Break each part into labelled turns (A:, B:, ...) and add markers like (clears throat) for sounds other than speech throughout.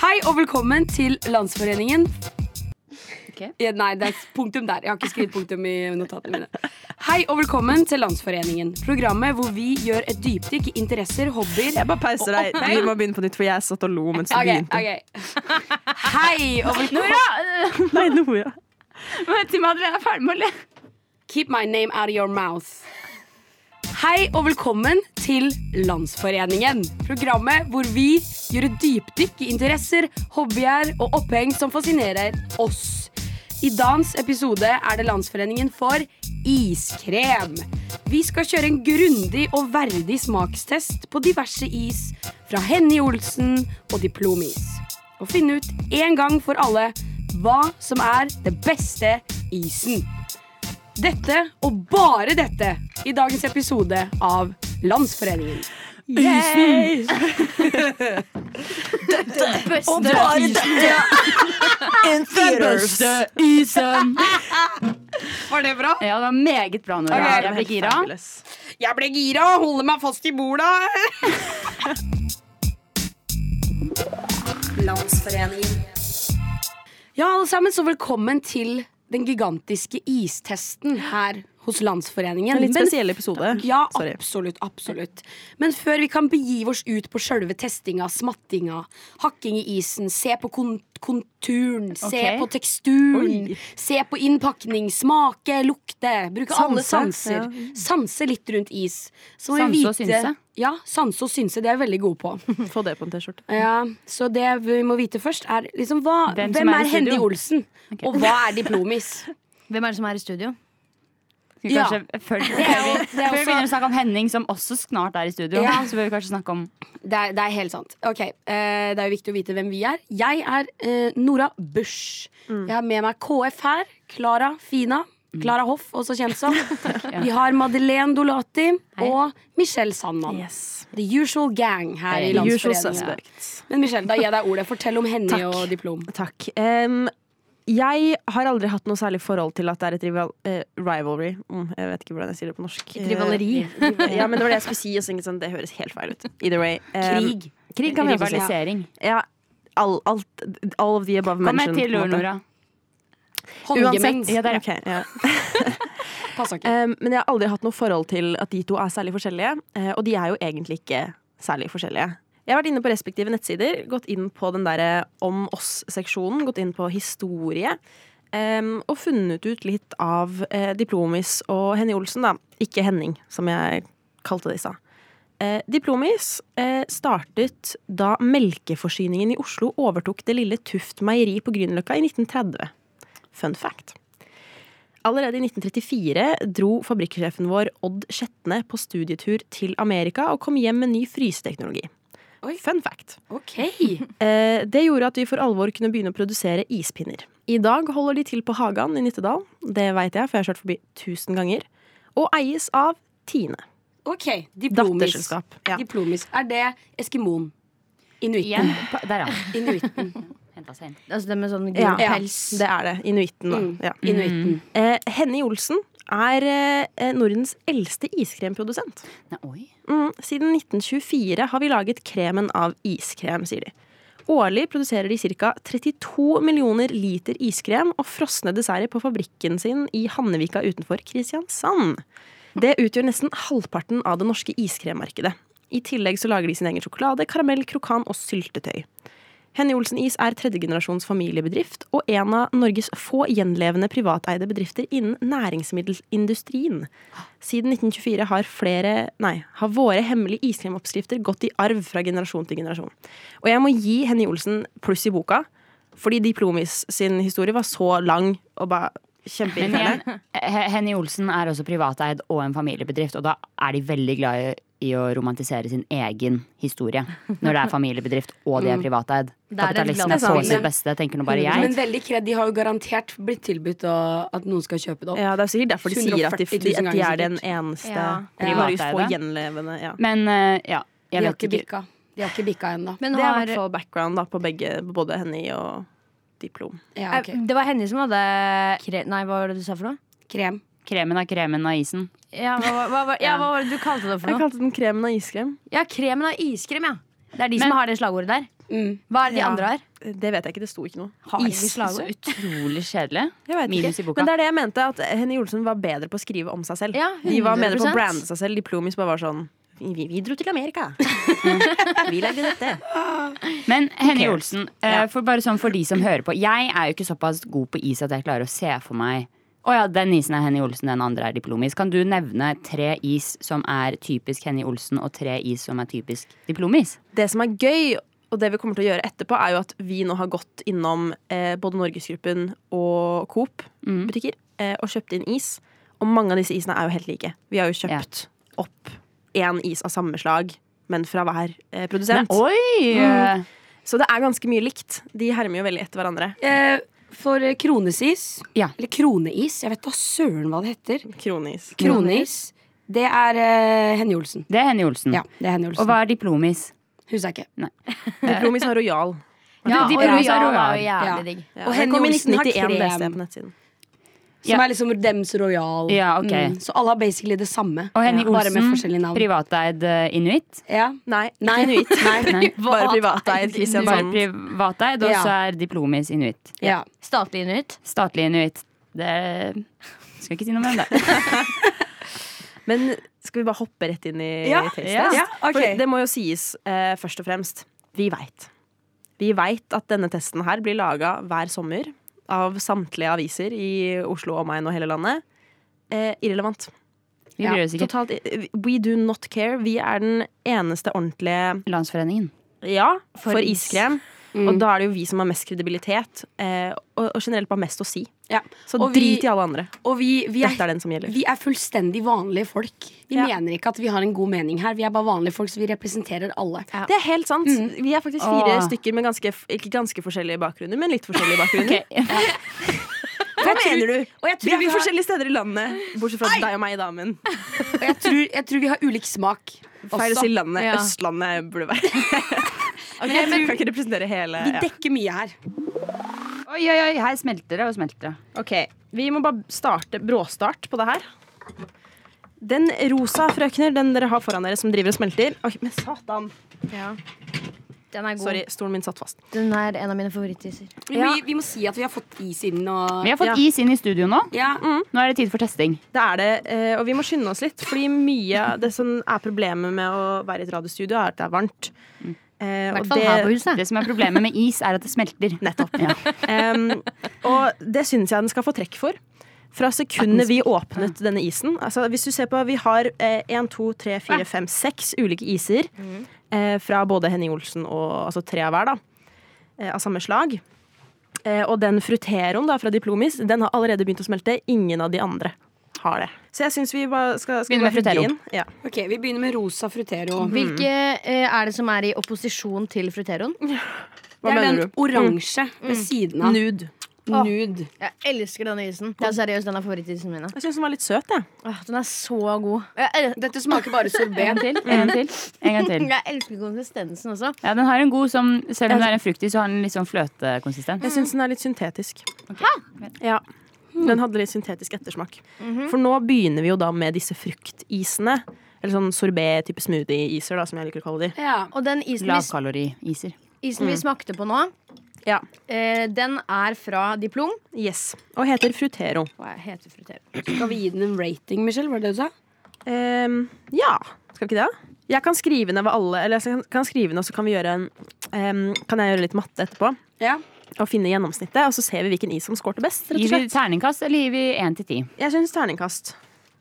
A: Hei og velkommen til Landsforeningen.
B: Ok.
A: Ja, Nei, det er punktum der. Jeg har ikke skrevet punktum i notatene mine. Hei og velkommen til Landsforeningen. Programmet hvor vi gjør et dypdykk i interesser, hobbyer
C: Jeg bare pauser deg. Vi må begynne på nytt, for jeg satt og lo mens du
A: Ok,
C: begynte.
A: ok. Hei og velkommen
B: Nora!
C: Nei, Nora.
B: Vent til Madeleine er ferdig med å le.
A: Keep my name out of your mouth. Hei og velkommen til Landsforeningen. Programmet hvor vi gjør et dypdykk i interesser, hobbyer og oppheng som fascinerer oss. I dagens episode er det Landsforeningen for iskrem. Vi skal kjøre en grundig og verdig smakstest på diverse is fra Henny Olsen og Diplomis. Og finne ut en gang for alle hva som er det beste isen. Dette, og bare dette, i dagens episode av Landsforeningen.
C: Og bare (laughs) det. In theaters.
A: Var det bra?
B: Ja, det var meget bra, Nora.
A: Ok,
B: jeg blir gira.
A: Jeg ble gira! Holder meg fast i borda! (laughs) Landsforeningen. Ja, alle sammen, så velkommen til den gigantiske istesten her hos Landsforeningen.
C: En litt
A: Men
C: spesiell episode.
A: Ja,
C: Sorry.
A: absolutt, absolutt. Men før vi kan begive oss ut på sjølve testinga, smattinga, hakking i isen, se på kon konturen, se
B: Ok.
A: på teksturen,
C: Oi.
A: se på innpakning, smake, lukte. Bruke alle
C: Sanse,
A: sanser.
C: ja.
A: Sanse litt rundt is. Så må
B: Sanse
A: vi vite-
B: og synse?
A: Ja, sanse og synse. Det er vi veldig gode på.
B: (laughs)
C: Få det på en T-skjorte.
A: Ja, så det vi må vite først, er liksom hva,
B: Hvem
A: hvem,
B: som er i
A: er Hendy
B: studio?
A: Olsen?
B: Ok.
A: Og hva er Diplomis?
D: Hvem er det som er i studio?
B: Skal vi
A: Ja.
B: kanskje, før, før,
A: er jo-
B: vi,
A: det er
B: før vi
A: også-
B: begynner å snakke om Henning, som også snart er i studio,
A: Ja.
B: så bør vi kanskje snakke om
A: Det er, det er helt sant. Ok, eh, Det er jo viktig å vite hvem vi er. Jeg er eh, Nora Busch. Jeg har med meg KF her. Klara Fina. Klara Hoff, også kjent som.
B: ja.
A: Vi har Madeleine Dolati
D: Hei.
A: og Michelle Sandmann.
C: Yes.
A: The usual gang her
B: Hey.
A: i
C: Usual
A: Landsforeningen.
C: suspects.
A: Men Michelle, da gir jeg deg ordet. Fortell om henne
C: Takk.
A: og diplom.
C: Takk. Em, jeg har aldri hatt noe særlig forhold til at det er et rival eh, rivalry. Mm, jeg vet ikke hvordan jeg sier det på norsk. Eh, ja, men det var det jeg skulle si. Og så tenkte jeg sånn, det høres helt feil ut. Either way. em,
A: Krig.
C: krig kan vi også si.
B: rivalisering.
C: Ja, all, alt, all of the above
B: Kom med
C: mentioned.
B: et til
C: på en
B: ord,
C: måte.
B: Nora.
A: Håndgemeng.
C: Uansett.
B: Ja, der, ja.
C: Ok, ja.
A: Passa ikke.
C: Em, men jeg har aldri hatt noe forhold til at de to er særlig forskjellige. eh, og de er jo egentlig ikke særlig forskjellige. Jeg har vært inne på respektive nettsider, gått inn på den derre om oss-seksjonen, gått inn på historie. em, og funnet ut litt av eh, Diplomis og Henny Olsen, da. Ikke Henning, som jeg kalte det i stad. Eh, Diplomis eh, startet da melkeforsyningen i Oslo overtok det lille Tuft meieri på Grünerløkka i 1930. Fun fact. Allerede i 1934 dro fabrikksjefen vår Odd Skjetne på studietur til Amerika og kom hjem med ny fryseteknologi.
A: Oi.
C: Fun fact.
A: Ok.
C: Eh, det gjorde at vi for alvor kunne begynne å produsere ispinner. I dag holder de til på Hagan i Nittedal, det veit jeg, for jeg har kjørt forbi tusen ganger, og eies av Tine.
A: ok, Diplomis.
C: Datterselskap. Ja.
A: Diplomis. Er det Eskimoen? Inuitten?
B: Igjen. Pa- Der, ja.
A: Inuitten.
B: Henta seg inn.
D: Altså det med
B: Eh,
D: sånn gul
C: Ja.
D: pels.
C: Det er det. Inuitten, da.
A: Mm.
C: Ja.
A: Inuitten.
C: Eh, Henny Olsen er eh, Nordens eldste iskremprodusent.
B: Nei, oi.
C: Mm, siden 1924 har vi laget kremen av iskrem, sier de. Årlig produserer de ca. 32 millioner liter iskrem og frosne desserter på fabrikken sin i Hannevika utenfor Kristiansand. Det utgjør nesten halvparten av det norske iskremmarkedet. I tillegg så lager de sin egen sjokolade, karamell, krokan og syltetøy. Henny Olsen Is er tredjegenerasjons familiebedrift og en av Norges få gjenlevende privateide bedrifter innen næringsmiddelindustrien. Siden 1924 har, flere, nei, har våre hemmelige iskremoppskrifter gått i arv fra generasjon til generasjon. Og jeg må gi Henny Olsen pluss i boka, fordi Diplomis sin historie var så lang og bare
B: Men
C: kjempeirriterende.
B: igjen, He- Henny Olsen er også privateid og en familiebedrift, og da er de veldig glad i, i å romantisere sin egen historie. Når det er familiebedrift og de er privateid.
D: Det er det
B: Kapitalisten er på
D: glansbildet.
B: sitt beste, tenker nå bare
A: Men
B: jeg.
A: veldig kred, de har jo garantert blitt tilbudt å, at noen skal kjøpe det opp.
C: Ja, Det er sikkert derfor de sier at de,
A: 140
C: de,
A: 000
C: at de er den
A: ganger
C: eneste
D: Ja.
C: Norges få
B: Privateide.
C: gjenlevende. Ja.
B: Men eh, ja,
A: De
B: jeg
A: har
B: vet
A: ikke
B: ikke.
A: bikka. De har ikke bikka ennå.
D: Men
C: Det er i
D: har,
C: hvert fall background da, på begge, både Henny og Diplom.
B: eh,
A: Ja, ok.
B: mm.
D: Det var Henny som hadde kre... Nei, hva var det du sa for noe?
A: Krem.
B: Kremen er kremen av isen.
D: Ja, hva, var- hva var- ja, hva var det du kalte det for
C: Jeg
D: noe?
C: kalte den kremen av iskrem.
D: Ja, kremen av iskrem, ja. Det er de
B: Men-
D: som har det slagordet der.
A: Mm.
D: Hva er det de
C: Ja.
D: andre har?
C: Det vet jeg ikke, det sto ikke noe.
D: Har de
B: Is, så
D: slagord?
B: utrolig kjedelig.
C: Jeg vet
B: Minus i
C: ikke.
B: boka.
C: Men det er det jeg mente, at Henny Olsen var bedre på å skrive om seg selv.
D: Ja,
C: De var bedre på å
D: 100%.
C: brande seg selv. Diplomis bare var sånn Vi, vi- vi dro til Amerika. (laughs) vi lagde dette.
B: Men Henny
C: cares?
B: Olsen, eh, for bare sånn for de som hører på. Jeg er jo ikke såpass god på is at jeg klarer å se for meg å ja, den isen er Henny Olsen, den andre er diplomis. Kan du nevne tre is som er typisk Henny Olsen, og tre is som er typisk diplomis?
C: Det som er gøy, og det vi kommer til å gjøre etterpå, er jo at vi nå har gått innom eh, både Norgesgruppen og
A: Mm.
C: Coop-butikker eh, og kjøpt inn is. Og mange av disse isene er jo helt like. Vi har jo kjøpt opp én is av samme slag, men fra hver eh, produsent.
B: oi!
A: Mm.
C: Så det er ganske mye likt. De hermer jo veldig etter hverandre.
A: Eh, for eh, kronesis,
B: Ja.
A: eller kroneis, jeg vet da søren hva det heter.
C: Kroneis.
A: (laughs) Kroneis, det er eh, Henny Olsen.
B: Det er Henny Olsen.
A: Ja, det er Henny
B: Mm. Og
A: Olsen.
B: hva er diplomis?
A: Husker jeg ikke. Eh.
C: Diplomis har Royal.
D: Ja,
B: de
D: og
B: prøver
D: Royal
B: seg
D: er jo
A: Ja.
D: jævlig digg.
C: Ja,
A: Og
C: den
A: Henny
C: kom i
A: Olsen har
C: 1991, leste jeg
A: krem.
C: på nettsiden.
A: Som
B: Ja.
A: er liksom Dems Royal. Mm.
B: Ja, ok.
A: så alle har basically det samme,
B: Og Henny
A: bare med forskjellige
B: Olsen,
A: navn.
B: privateid eh, inuitt.
A: ja.
C: Nei,
A: Nei.
B: (laughs)
C: inuitt.
A: Nei.
C: Bare
A: (laughs)
C: privateid.
B: Bare
C: Kristiansand.
B: privateid, og
A: Ja.
B: så er diplomis inuitt.
A: Ja.
D: Statlig nytt.
B: Statlig inuitt. Det skal ikke si noe mer om det.
C: Men skal vi bare hoppe rett inn i
A: Ja,
C: taste test?
A: ja, ja, ok.
C: For det må jo sies eh, først og fremst vi veit. Vi veit at denne testen her blir laga hver sommer av samtlige aviser i Oslo, omegn og hele landet. Eh, irrelevant.
B: Vi
A: Ja,
B: bryr oss ikke.
C: Totalt i- We do not care. Vi er den eneste ordentlige
B: Landsforeningen.
C: ja
D: For
C: for, Mm.
D: is.
C: iskrem. Og da er det jo vi som har mest kredibilitet, eh, og, og generelt bare mest å si.
A: ja.
C: Så
A: Og vi-
C: drit i alle andre.
A: Og vi, vi,
C: Dette
A: er,
C: er den som gjelder.
A: vi er fullstendig vanlige folk. Vi
C: Ja.
A: mener ikke at vi har en god mening her. Vi er bare vanlige folk, så vi representerer alle.
D: Ja.
C: Det er helt sant. Vi er faktisk fire
B: Åh.
C: stykker med ganske, ikke ganske forskjellige bakgrunner, men litt (laughs) forskjellige bakgrunner. Hva mener du?
A: Og jeg tror,
C: Vi
A: jeg
C: bor
A: har-
C: forskjellige steder i landet, bortsett fra deg og meg, da, men
A: og jeg tror, jeg tror vi har ulik smak.
C: feil å si
A: Også.
C: landet.
D: Ja.
C: Østlandet burde
D: (laughs)
C: være Men jeg kan ikke representere hele
A: Vi
C: ja.
A: dekker mye her.
B: (laughs) Oi, oi, oi, her smelter det og smelter det.
C: Ok, Vi må bare starte bråstart på det her. Den rosa frøkner, den dere har foran dere som driver og smelter Oi, men satan!
D: Den er god.
C: Sorry, stolen min satt fast.
D: Den er en av mine favorittiser.
A: Men Vi, vi må si at vi har fått is inn og
B: Vi har fått
C: Ja.
B: is inn i studio nå.
A: ja.
B: Nå er det tid for testing.
C: Det er det, eh, og vi må skynde oss litt, fordi mye av det som er problemet med å være i et radiostudio, er at det er varmt. Eh,
D: Mm. I
C: og
D: hvert fall
C: det-
D: her på huset.
B: Det som er problemet med is, er at det smelter.
C: Nettopp.
B: Ja.
C: Em, og det syns jeg den skal få trekk for. Fra sekundet vi åpnet denne isen altså Hvis du ser på, Vi har én, to, tre, fire, fem, seks ulike iser. Eh, fra både Henning Olsen og altså tre av hver, da. Eh, av samme slag. Eh, og den fruteroen da, fra Diplomis den har allerede begynt å smelte. Ingen av de andre har det. Så jeg syns vi bare skal, skal
B: Begynner med
C: bare hugge
B: Frutero.
C: inn. Ja.
A: Ok, Vi begynner med rosa frutero.
D: Hvilke eh, er det som er i opposisjon til fruteroen?
A: Det
C: Hva
A: er
C: mener
A: den oransje ved siden av.
C: Nude.
A: Nude.
D: Jeg elsker denne isen. Det er seriøst, Den er favorittisene mine.
C: Jeg syns den var litt søt, jeg.
D: Åh, den er så god. Jeg, el
A: Dette smaker bare sorbé.
B: En gang til. En gang til. En gang til.
D: jeg elsker konsistensen også.
B: Ja, den har en god som Selv om det er en fruktig, så har den litt sånn fløtekonsistens.
C: Jeg syns den er litt syntetisk. Ja. Den hadde litt syntetisk ettersmak. For nå begynner vi jo da med disse fruktisene. Eller sånn sorbé-type smoothie-iser, da, som jeg liker å kalle de.
A: (laughs) Ja.
D: Og den isen, vi, s-
B: Lavkalori-iser.
D: isen vi smakte på nå,
C: Ja.
D: eh, den er fra Diplom.
C: Yes. Og heter Frutero.
D: Hva heter frutero?
A: Skal vi gi den en rating, Michelle? Var det det du sa?
C: Ehm, ja. Skal vi ikke det? Jeg kan skrive ned hva alle Eller jeg kan, kan skrive ned, og så kan vi gjøre en ehm, Kan jeg gjøre litt matte etterpå?
A: Ja.
C: Og finne gjennomsnittet, og så ser vi hvilken is som scoret best. Rett og
B: Gir vi
C: slett.
B: terningkast, eller gir vi én til ti?
C: Jeg syns terningkast.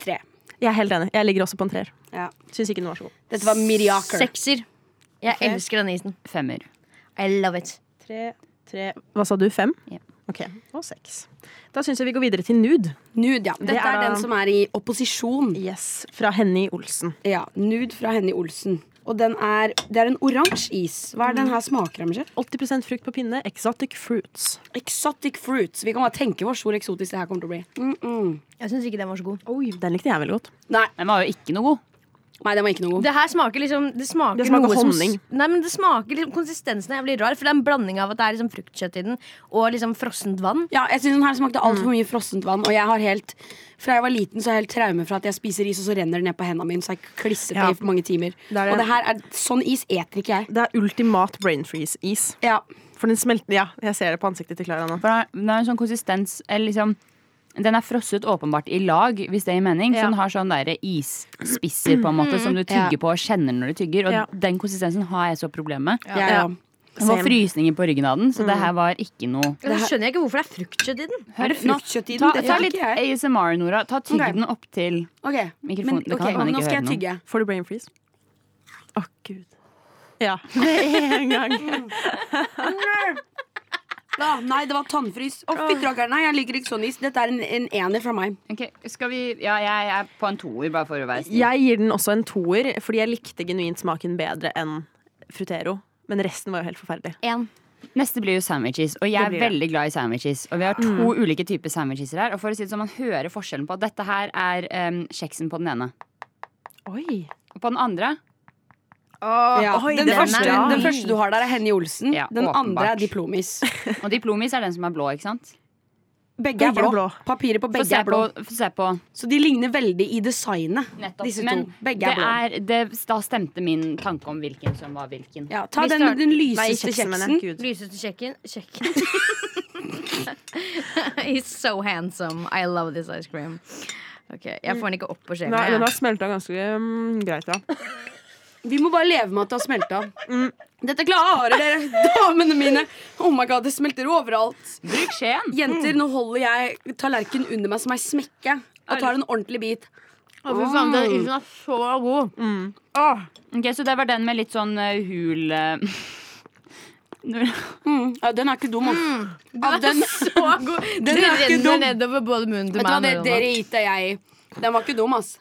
A: Tre.
C: Jeg er helt enig. Jeg ligger også på en treer.
A: Ja.
C: Syns ikke den var så god.
A: Dette var mediocre.
D: Sekser. Jeg
A: Ok.
D: elsker denne isen.
B: Femmer.
D: I love it.
C: Tre, tre Hva sa du? Fem?
B: Ja.
C: Ok, Og seks. Da syns jeg vi går videre til Nude.
A: Nude, ja. Dette
C: Det er
A: er
C: da-
A: den som er i opposisjon.
C: Yes, Fra Henny Olsen.
A: Ja, Nude fra Henny Olsen. Og den er, det er en oransje is. Hva er den her smaker av, Michelle?
C: 80 frukt på pinne. Exotic fruits.
A: Exotic fruits. Vi kan bare tenke hvor stor eksotisk det her kommer til å bli. Mm -mm.
D: Jeg syns ikke den var så god.
C: Oi, Den likte jeg veldig godt.
A: Nei.
B: Den var jo ikke noe god.
A: Nei, den var ikke noe god.
D: Det her smaker liksom Det smaker,
C: Det smaker
D: noe som-
C: honning.
D: Nei, men det smaker liksom Konsistensen er jævlig rar, for det er en blanding av at det er liksom fruktkjøtt i den og liksom frossent vann.
A: Ja, jeg synes den her smakte altfor mye frossent vann. Og jeg har helt, Fra jeg var liten, så har jeg helt traume for at jeg spiser is, og så renner det ned på hendene mine. Så jeg klisser på
C: Ja.
A: i for mange timer.
C: Det er det.
A: Og det her er, sånn is eter ikke jeg.
C: Det er ultimat brain freeze-is.
A: Ja,
C: For den smelter Ja, jeg ser det på ansiktet til Klara nå.
B: For den har- den har en sånn konsistens eller liksom, Den er frosset åpenbart i lag, hvis det gir mening. Så
D: Ja.
B: den har sånn der isspisser på en måte som du tygger
A: Ja.
B: på og kjenner når du tygger. Og
C: Ja.
B: den konsistensen har jeg så problemer med.
A: ja, ja.
C: Ja.
B: Det var
C: Same.
B: frysninger på ryggen av den, så det her var ikke noe
D: Og så skjønner jeg ikke hvorfor det er fruktkjøtt i den.
A: Er det
B: Nå,
A: fruktkjøtt i den?
B: Ta,
A: Det
B: ta
A: vet
B: litt
A: ikke
B: ASMR, Nora. Ta tygg
A: Ok.
B: den opp til
A: Ok,
B: Mikrofon- det kan
A: ok,
B: hende man
A: nå
B: ikke
A: skal jeg
B: hører
A: tygge.
C: Får du brain freeze? Å, gud. Ja. (laughs) Med en gang.
A: Da, nei, det var tannfrys. Å, fytti rakkeren, nei, jeg liker ikke sånn is. Dette er en, en ener fra meg.
B: Ok, skal vi Ja, jeg er på en toer, bare for å være snill.
C: Jeg gir den også en toer, fordi jeg likte genuint smaken bedre enn Frutero. Men resten var jo helt forferdelig.
D: En.
B: Neste blir jo sandwiches, og jeg
C: Det
B: er
C: blir det.
B: veldig glad i sandwiches. Og vi har to ulike typer sandwiches her. Og for å si det sånn, man hører forskjellen på at dette her er em, kjeksen på den ene.
C: Oi.
B: Og på den andre
A: Ja.
C: oi,
A: den,
C: den er
A: Ah, første,
C: bra.
A: den første du har der, er Henny Olsen.
B: Ja,
A: den andre
B: åpenbart.
A: er Diplomis.
B: Og diplomis er den som er blå, ikke sant?
A: Begge er
C: Begge
A: blå.
C: er blå.
A: Papiret på
B: Få
A: begge
B: se
A: er
B: på,
A: blå.
B: få se på.
A: Så de ligner veldig i designet,
B: Nettopp.
A: disse
B: Men
A: to. Begge er blå.
B: det er, det, da stemte min tanke om hvilken som var hvilken.
A: Ja, ta
D: Vi
A: den,
D: starter-
A: den
C: Nei,
A: lyseste
C: kjeksen, mener
A: kjeksen.
C: jeg. Gud.
D: Lyseste kjekken Kjekken. (laughs) He's so handsome. I love this ice cream. Ok, Jeg får Mm. den ikke opp på skjeen.
C: Nei, den
D: jeg.
C: har smelta ganske um, greit, ja.
A: Vi må bare leve med at det har smelta. Dette klarer dere, (laughs) damene mine. Oh my god, Det smelter overalt.
B: Bruk skjeen!
A: Jenter, nå holder jeg tallerkenen under meg som ei smekke og tar en ordentlig bit.
D: Å, fy faen, den isen er så god.
B: Ok, Så det var den med litt sånn eh, hul eh, (laughs) Nora.
A: Mm. Ja, den er ikke dum, ass. Ja,
D: Den
A: den,
D: er
A: (laughs)
D: så god. Den
A: er ikke dum.
D: renner nedover både munnen til
A: vet du hva, det,
D: meg og Nora.
A: dere gitt er jeg i. Den var ikke dum, ass.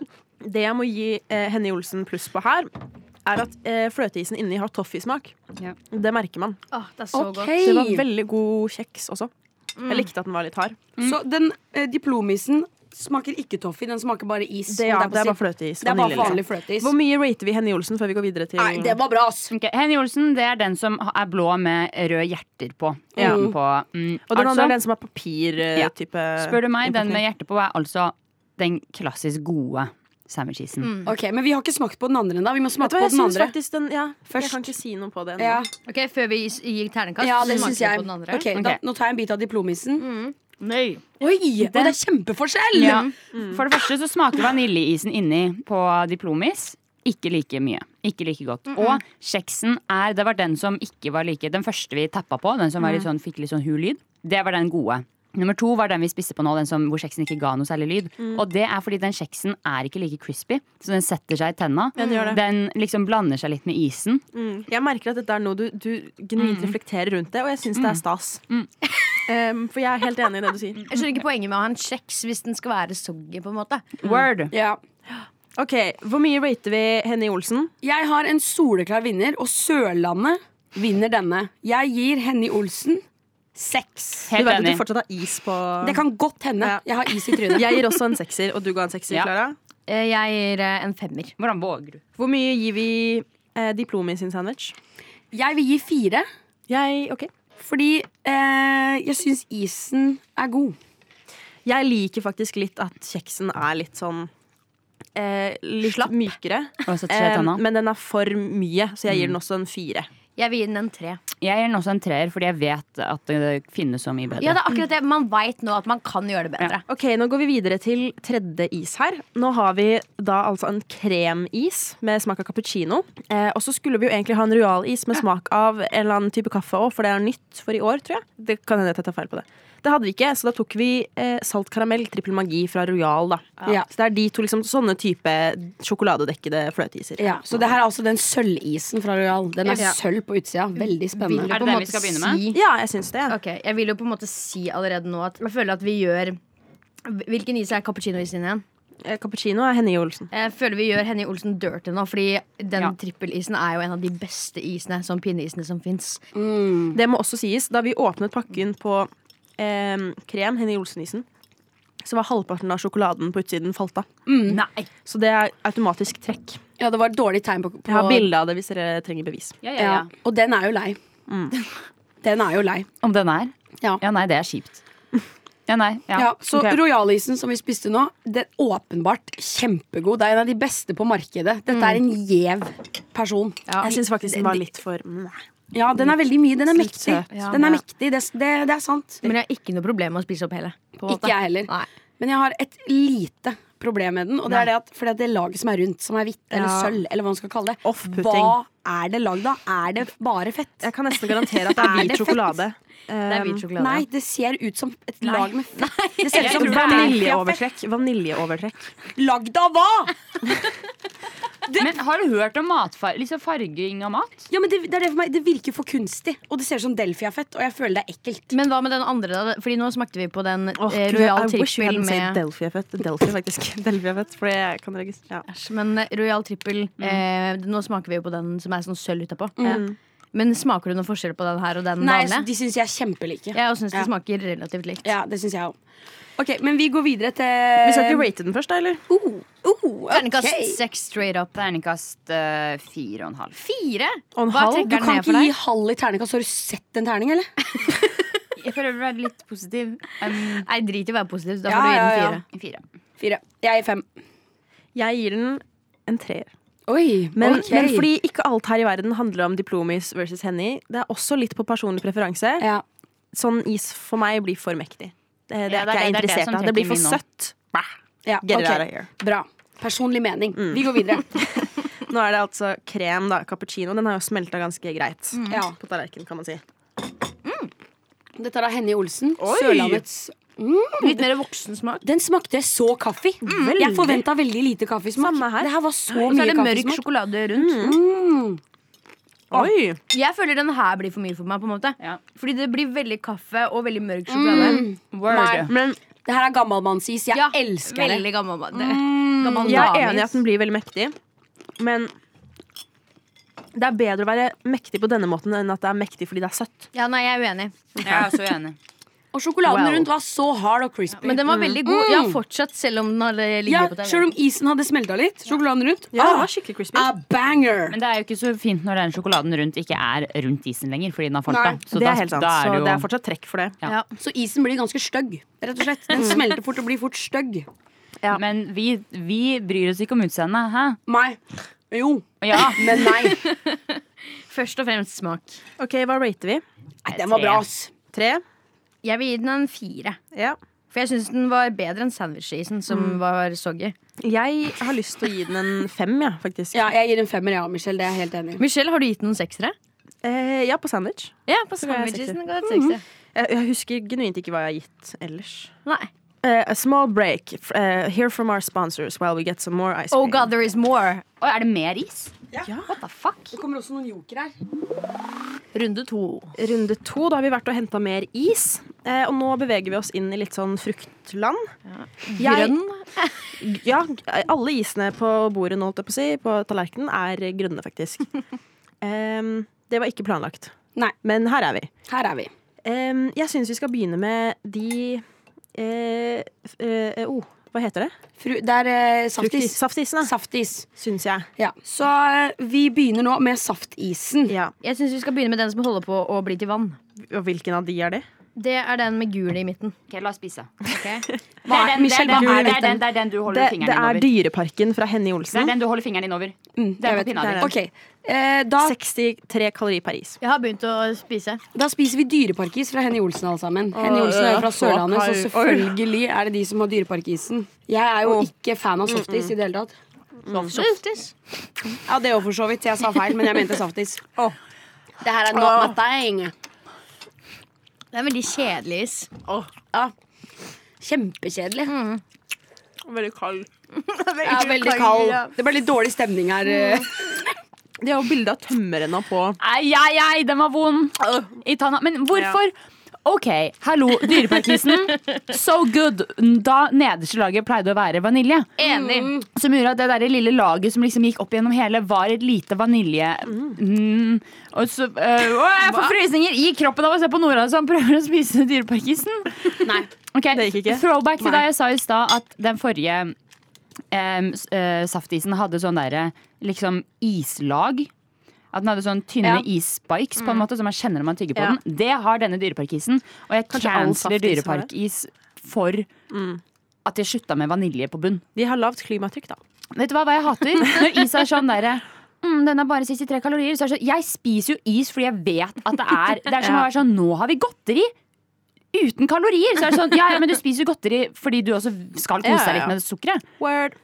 C: Det jeg må gi eh, Henny Olsen pluss på her, er at eh, fløteisen inni har toffeesmak.
B: Ja.
C: Det merker man.
D: Åh, det er så godt.
C: Så det var veldig god kjeks også.
A: Mm.
C: Jeg likte at den var litt hard.
A: Så den eh, diplomisen smaker ikke toffee, den smaker bare is. og
C: Det, ja,
A: på
C: det er
A: sin-
C: bare fløteis.
A: det er bare
C: vanille, liksom.
A: vanlig fløteis.
C: Hvor mye rater vi Henny Olsen før vi går videre til
A: Nei, det var bra, ass.
B: Ok, Henny Olsen det er den som ha- er blå med røde hjerter på.
C: Ja.
B: Utenpå. Mm,
C: Og den andre
B: altså,
C: er den som er eh,
B: Ja.
C: papirtype.
B: spør du meg, den med hjerte på er altså den klassisk gode sandwichisen.
A: Ok, Men vi har ikke smakt på den andre ennå. Vi må
C: Vet du
A: smake
C: hva,
A: på
C: jeg
A: den
C: syns
A: andre.
C: faktisk den ja,
A: Først.
C: Jeg kan ikke si noe på det ennå.
A: Ja,
D: Ok, Før vi s- gir terningkast,
A: ja, det
D: så
A: syns
D: smaker vi
A: jeg.
D: på den andre.
A: Ok, da,
B: Ok.
A: Nå tar jeg en bit av diplomisen.
D: Nei.
A: Oi, og det er kjempeforskjell!
B: Ja. For det første så smaker vaniljeisen inni på diplomis ikke like mye. Ikke like godt. Og kjeksen er Det var den som ikke var like Den første vi tappa på, den som var
C: Mm.
B: litt sånn, fikk litt sånn hul lyd, det var den gode. Nummer to var den vi spiste på nå, den som, hvor kjeksen ikke ga noe særlig lyd.
C: Mm.
B: Og det er fordi den kjeksen er ikke like crispy, så den setter seg i tenna.
C: den gjør det.
B: Den liksom blander seg litt med isen.
C: Mm. Jeg merker at dette er noe du, du genuint
A: Mm.
C: reflekterer rundt det, og jeg syns det er stas. (laughs) Um, for jeg er helt enig i det du sier.
D: Jeg skjønner ikke poenget med å ha en kjeks hvis den skal være soggy. på en måte
C: Mm.
B: Word!
A: Ja.
C: Ok, Hvor mye rater vi Henny Olsen?
A: Jeg har en soleklar vinner, og Sørlandet vinner denne. Jeg gir Henny Olsen seks.
C: Du
B: Helt
C: vet at
B: enig.
C: du fortsatt har is på
A: Det kan godt hende.
C: Ja.
A: Jeg har is i trynet.
C: Jeg gir også en sekser, og du ga en sekser,
B: Ja.
C: Klara.
D: Eh, Jeg gir eh, en femmer.
B: Hvordan våger du?
C: Hvor mye gir vi eh, Diplomi sin sandwich?
A: Jeg vil gi fire,
C: Jeg, ok
A: fordi eh, jeg syns isen er god.
C: Jeg liker faktisk litt at kjeksen er litt sånn eh, Litt mykere.
B: Og setter seg i
C: Eh,
B: tanna.
C: men den er for mye, så jeg gir den også en fire.
D: Jeg vil gi den en tre.
B: Jeg gir den også en treer, fordi jeg vet at det finnes så mye bedre.
D: Ja, det er akkurat det. Man veit nå at man kan gjøre det bedre.
C: Ok, Nå går vi videre til tredje is her. Nå har vi da altså en kremis med smak av cappuccino. Eh, og så skulle vi jo egentlig ha en royalis med smak av en eller annen type kaffe òg, for det er nytt for i år, tror jeg. Det kan hende at jeg tar feil på det. Det hadde vi ikke, så da tok vi eh, salt karamell, trippel magi fra Royal, da.
A: Ja.
C: Så det er de to liksom sånne type sjokoladedekkede fløteiser.
A: Ja, så det her er altså den sølvisen fra Royal. Den er
C: Ja.
A: sølv på utsida. Veldig
D: Vil
A: spennende.
D: jo
B: Er det
D: på en
B: den vi
D: måte
B: skal begynne med?
D: si-
C: Ja, jeg syns det.
D: Ok, Jeg vil jo på en måte si allerede nå at jeg føler at vi gjør Hvilken is er cappuccino-isen igjen?
C: Eh, Cappuccino er Henny Olsen.
D: Jeg Eh, føler vi gjør Henny Olsen dirty nå, fordi den
B: Ja.
D: trippelisen er jo en av de beste isene, sånn pinneisene som fins.
C: Det må også sies, da vi åpnet pakken på eh, krem, Henny Olsen-isen, så var halvparten av sjokoladen på utsiden falt av.
B: Nei.
C: Så det er automatisk trekk.
A: Ja, det var et dårlig tegn på, på
C: Jeg har bilde av det hvis dere trenger bevis.
B: Ja, ja,
A: Ja,
B: ja.
A: og den er jo lei. (laughs) Den er jo lei.
B: Om den er?
A: Ja.
B: Ja, nei, det er kjipt. Ja, nei. Ja.
A: Ja, så
C: ok.
A: royalisen som vi spiste nå, den er åpenbart kjempegod. Det er en av de beste på markedet. Dette er en gjev person.
C: Jeg syns faktisk den var litt for Nei,
A: Ja, den er veldig mye. Den er
C: Litt
A: mektig.
C: søt.
D: Ja.
A: Den er
D: Ja.
A: mektig, det, det, det er sant.
D: Men jeg har ikke noe problem med å spise opp hele. på en måte.
A: Ikke jeg heller.
D: Nei.
A: Men jeg har et lite problem med den, og det er det at fordi at det laget som er rundt, som er hvitt eller
D: Ja.
A: sølv, eller hva man skal kalle det,
C: Off-putting.
A: hva er det lagd av? Er det bare fett?
C: Jeg kan nesten garantere at det (laughs) er hvit sjokolade. Ehm,
D: Det er hvit sjokolade.
A: Um, Nei, det ser ut som et lag med fett. Det ser
B: Jeg
A: ut som
B: tror det er-
A: vaniljeovertrekk.
C: Vaniljeovertrekk. Vaniljeovertrekk.
A: Lagd av hva?!
B: Men har du hørt om matfar liksom farging av mat?
A: Ja, men det, det, er det, for meg, det virker for kunstig, og det ser ut som Delfia-fett, og jeg føler det er ekkelt.
D: Men hva med den andre, da? Fordi nå smakte vi på den
C: Åh,
D: oh,
C: Gud,
D: Royal
C: I wish you
D: Trippel
C: hadn't said
D: med
C: Delphi er født. Delphi, faktisk. (laughs) Delphi er født, for jeg kan registrere. Ja.
D: Æsj, men Royal Trippel
A: Mm.
D: eh, Nå smaker vi jo på den som er sånn sølv utapå. Ja. Men smaker du noen forskjell på den her og den
A: Nei,
D: vanlige?
A: De syns jeg er kjempelike.
D: Jeg syns det
A: Ja.
D: smaker relativt likt.
A: Ja, det syns jeg òg. Ok, men vi går videre til
C: Vi skal ikke rate den først, da, eller?
A: oh, oh,
D: Terningkast
A: ok.
D: seks straight up.
B: Terningkast eh, fire og en halv.
D: Fire?
C: Og en
D: Hva
C: halv?
A: Du
D: trekker den
A: kan
D: ned for
A: ikke gi
D: deg?
A: halv i terningkast. Har du sett en terning, eller?
B: Jeg prøver å være litt positiv. Um,
D: Nei, drit i å være positiv. så Da
A: Ja,
D: får du gi
A: ja,
D: den
A: ja.
B: fire.
D: fire.
A: Fire. Jeg gir fem.
C: Jeg gir den en treer.
A: Oi,
C: Men,
A: ok.
C: men fordi ikke alt her i verden handler om diplomis versus Henny. Det er også litt på personlig preferanse.
A: ja.
C: Sånn is for meg blir for mektig. Det, det,
B: Ja,
C: er ikke jeg
B: det er det
C: interessert
B: som
C: av. Det blir
B: trekker
C: for
B: min nå.
C: søtt.
A: ja,
C: Get
A: ok.
C: it out of here. Mm.
A: Bra. Personlig mening. Vi går videre.
C: (laughs) Nå er det altså krem, da. Cappuccino. Den har jo smelta ganske greit
B: Mm.
A: Ja.
C: på tallerkenen, kan man si.
A: Dette er da Henny Olsen.
C: Oi!
A: Sørlandets
D: Litt mer voksen smak.
A: Den smakte så kaffe. Jeg forventa veldig lite kaffesmak.
C: Mm, Samme her.
A: Det her var så
D: Og så
A: mye
D: er det mørk
A: kaffesmak. Mm.
D: sjokolade rundt.
C: Oi!
D: Jeg føler den her blir for mye for meg. på en måte
B: Ja.
D: Fordi det blir veldig kaffe og veldig mørk sjokolade.
B: Word.
C: Men
A: Det her er gammalmannsis. Jeg elsker det.
D: veldig gammel mat. Det- Mm. Gammel
C: jeg er
D: damis.
C: enig i at den blir veldig mektig. Men det er bedre å være mektig på denne måten enn at det er mektig fordi det er søtt.
D: Ja, nei, jeg er uenig.
B: Jeg er også uenig.
A: Og sjokoladen
B: Wow.
A: rundt var så hard og crispy.
D: Men den var veldig god. Ja, fortsatt, selv om den har ligget
A: ja,
D: på TV.
A: Selv om isen hadde smelta litt, sjokoladen rundt
C: Ja,
A: ah,
C: det var skikkelig crispy.
A: A banger!
B: Men det er jo ikke så fint når den sjokoladen rundt ikke er rundt isen lenger. Fordi den har
A: Nei,
B: falt av. Så
C: det
B: da-
C: er helt sant.
B: da er det
C: så
B: jo-
C: det er fortsatt trekk for det.
B: Ja.
D: Ja.
A: Så isen blir ganske stygg. Rett og slett.
C: (laughs)
A: Den smelter fort og blir fort stygg.
C: Ja.
B: Men vi, vi bryr oss ikke om utseendet, hæ?
A: Nei. Jo,
B: Ja.
A: men
C: (laughs)
A: nei. nei.
D: Først og fremst smak.
C: Ok, hva rater vi?
A: Den var bra, ass.
C: Tre?
D: Jeg vil gi den en fire.
C: Ja.
D: For jeg syns den var bedre enn sandwichisen, som var soggy.
C: Jeg har lyst til å gi den en fem, ja, faktisk.
A: Ja, jeg gir en femmer, ja, Michelle. Det er jeg helt enig i.
D: Michelle, har du gitt den noen seksere?
C: Eh, ja, på sandwich.
D: Ja, på
C: ga jeg
D: sandwichisen ga jeg et seksere.
C: Jeg, jeg husker genuint ikke hva jeg har gitt ellers.
D: Nei.
C: Eh, a small break. F eh, hear from our sponsors while we get some more ice cream.
D: Oh god, there is more.
B: Og er det mer is?
C: Ja.
B: What the fuck?
A: Det kommer også noen joker her.
D: Runde to.
C: Runde to, da har vi vært og henta mer is. Eh, og nå beveger vi oss inn i litt sånn fruktland. Jeg-
D: Grønn.
C: Ja, alle isene på bordet nå, holdt jeg på å si, på tallerkenen, er grønne, faktisk. (laughs) Em, det var ikke planlagt.
A: Nei.
C: Men her er vi.
A: Her er vi.
C: Em, jeg syns vi skal begynne med de eh, f- eh, oh, hva heter det?
A: Fru, det er eh,
C: Fruktis-
A: saftis.
C: Saftisene,
A: Saftis.
C: syns jeg.
A: Ja. Så eh, vi begynner nå med saftisen.
C: Ja.
D: Jeg syns vi skal begynne med den som holder på å bli til vann.
C: Og hvilken av de er det?
D: Det er den med gul i midten.
B: Ok, la oss spise.
D: ok?
B: Det er den, det er
A: Michelle,
B: den,
A: hva er
B: det er
A: dette?
B: den, det er den du holder
C: Det,
B: fingeren
C: det
B: din
C: er
B: over.
C: Dyreparken fra Henny
B: Det er
C: Olsen.
B: den du holder fingeren din over. Det
A: Mm. jeg
B: er
A: vet
B: på pinna
C: det er
B: di.
C: den.
A: Ok, eh, da,
C: 63 kalori per is.
D: Jeg har begynt å spise.
A: da spiser vi dyreparkis fra Henny Olsen alle sammen. Henny Olsen er
C: ja,
A: jo fra
C: så
A: Sørlandet, så
C: kald.
A: selvfølgelig er det de som har dyreparkisen. Jeg er jo ikke fan av softis i det hele tatt.
D: Softis.
A: Ja, det òg for så vidt. Jeg sa feil, men jeg mente saftis. Det her er
C: Åh.
A: not my thing.
D: Det er veldig kjedelig is.
A: Ja. Kjempekjedelig.
C: Veldig kald.
A: Ja, veldig kald. Det ble litt dårlig stemning her. eh.
C: De har jo bilde av tømmerrenna på.
B: Ai, ai, ai, den var vond i tanna. Men hvorfor? Ok, hallo, Dyreparkisen.
A: (laughs)
B: So good. Da nederste laget pleide å være vanilje.
D: Enig.
A: Mm.
B: Som gjorde at det der lille laget som liksom gikk opp gjennom hele, var et lite vanilje... Mm. Og så, øh, å, jeg får frysninger i kroppen av å se på Nora som prøver å spise dyreparkisen.
A: (laughs) Nei.
B: Ok,
C: Det gikk ikke.
B: Throwback til
A: Nei.
B: da jeg sa i stad at den forrige em, s- eh, saftisen hadde sånn derre liksom islag. At den hadde sånn tynne
A: Ja.
B: isspikes på en
C: Mm.
B: måte som man kjenner når man tygger på
D: Ja.
B: den. Det har denne dyreparkisen. Og jeg
C: Kanskje all
B: canceler
C: saftis har det. Mm.
B: dyreparkis for at jeg slutta med vanilje på bunn.
C: De har lavt klimatrykk, da.
B: Vet du hva, hva jeg (laughs) hater? Når is er sånn derre mm, den er bare 63 kalorier. Så er det sånn, jeg spiser jo is fordi jeg vet at det er Det er som å være sånn Nå har vi godteri! Uten kalorier! Så er det sånn, ja, ja, men du spiser jo godteri fordi du også skal kose
C: Ja,
B: deg
C: ja.
B: litt med sukkeret.
C: Word.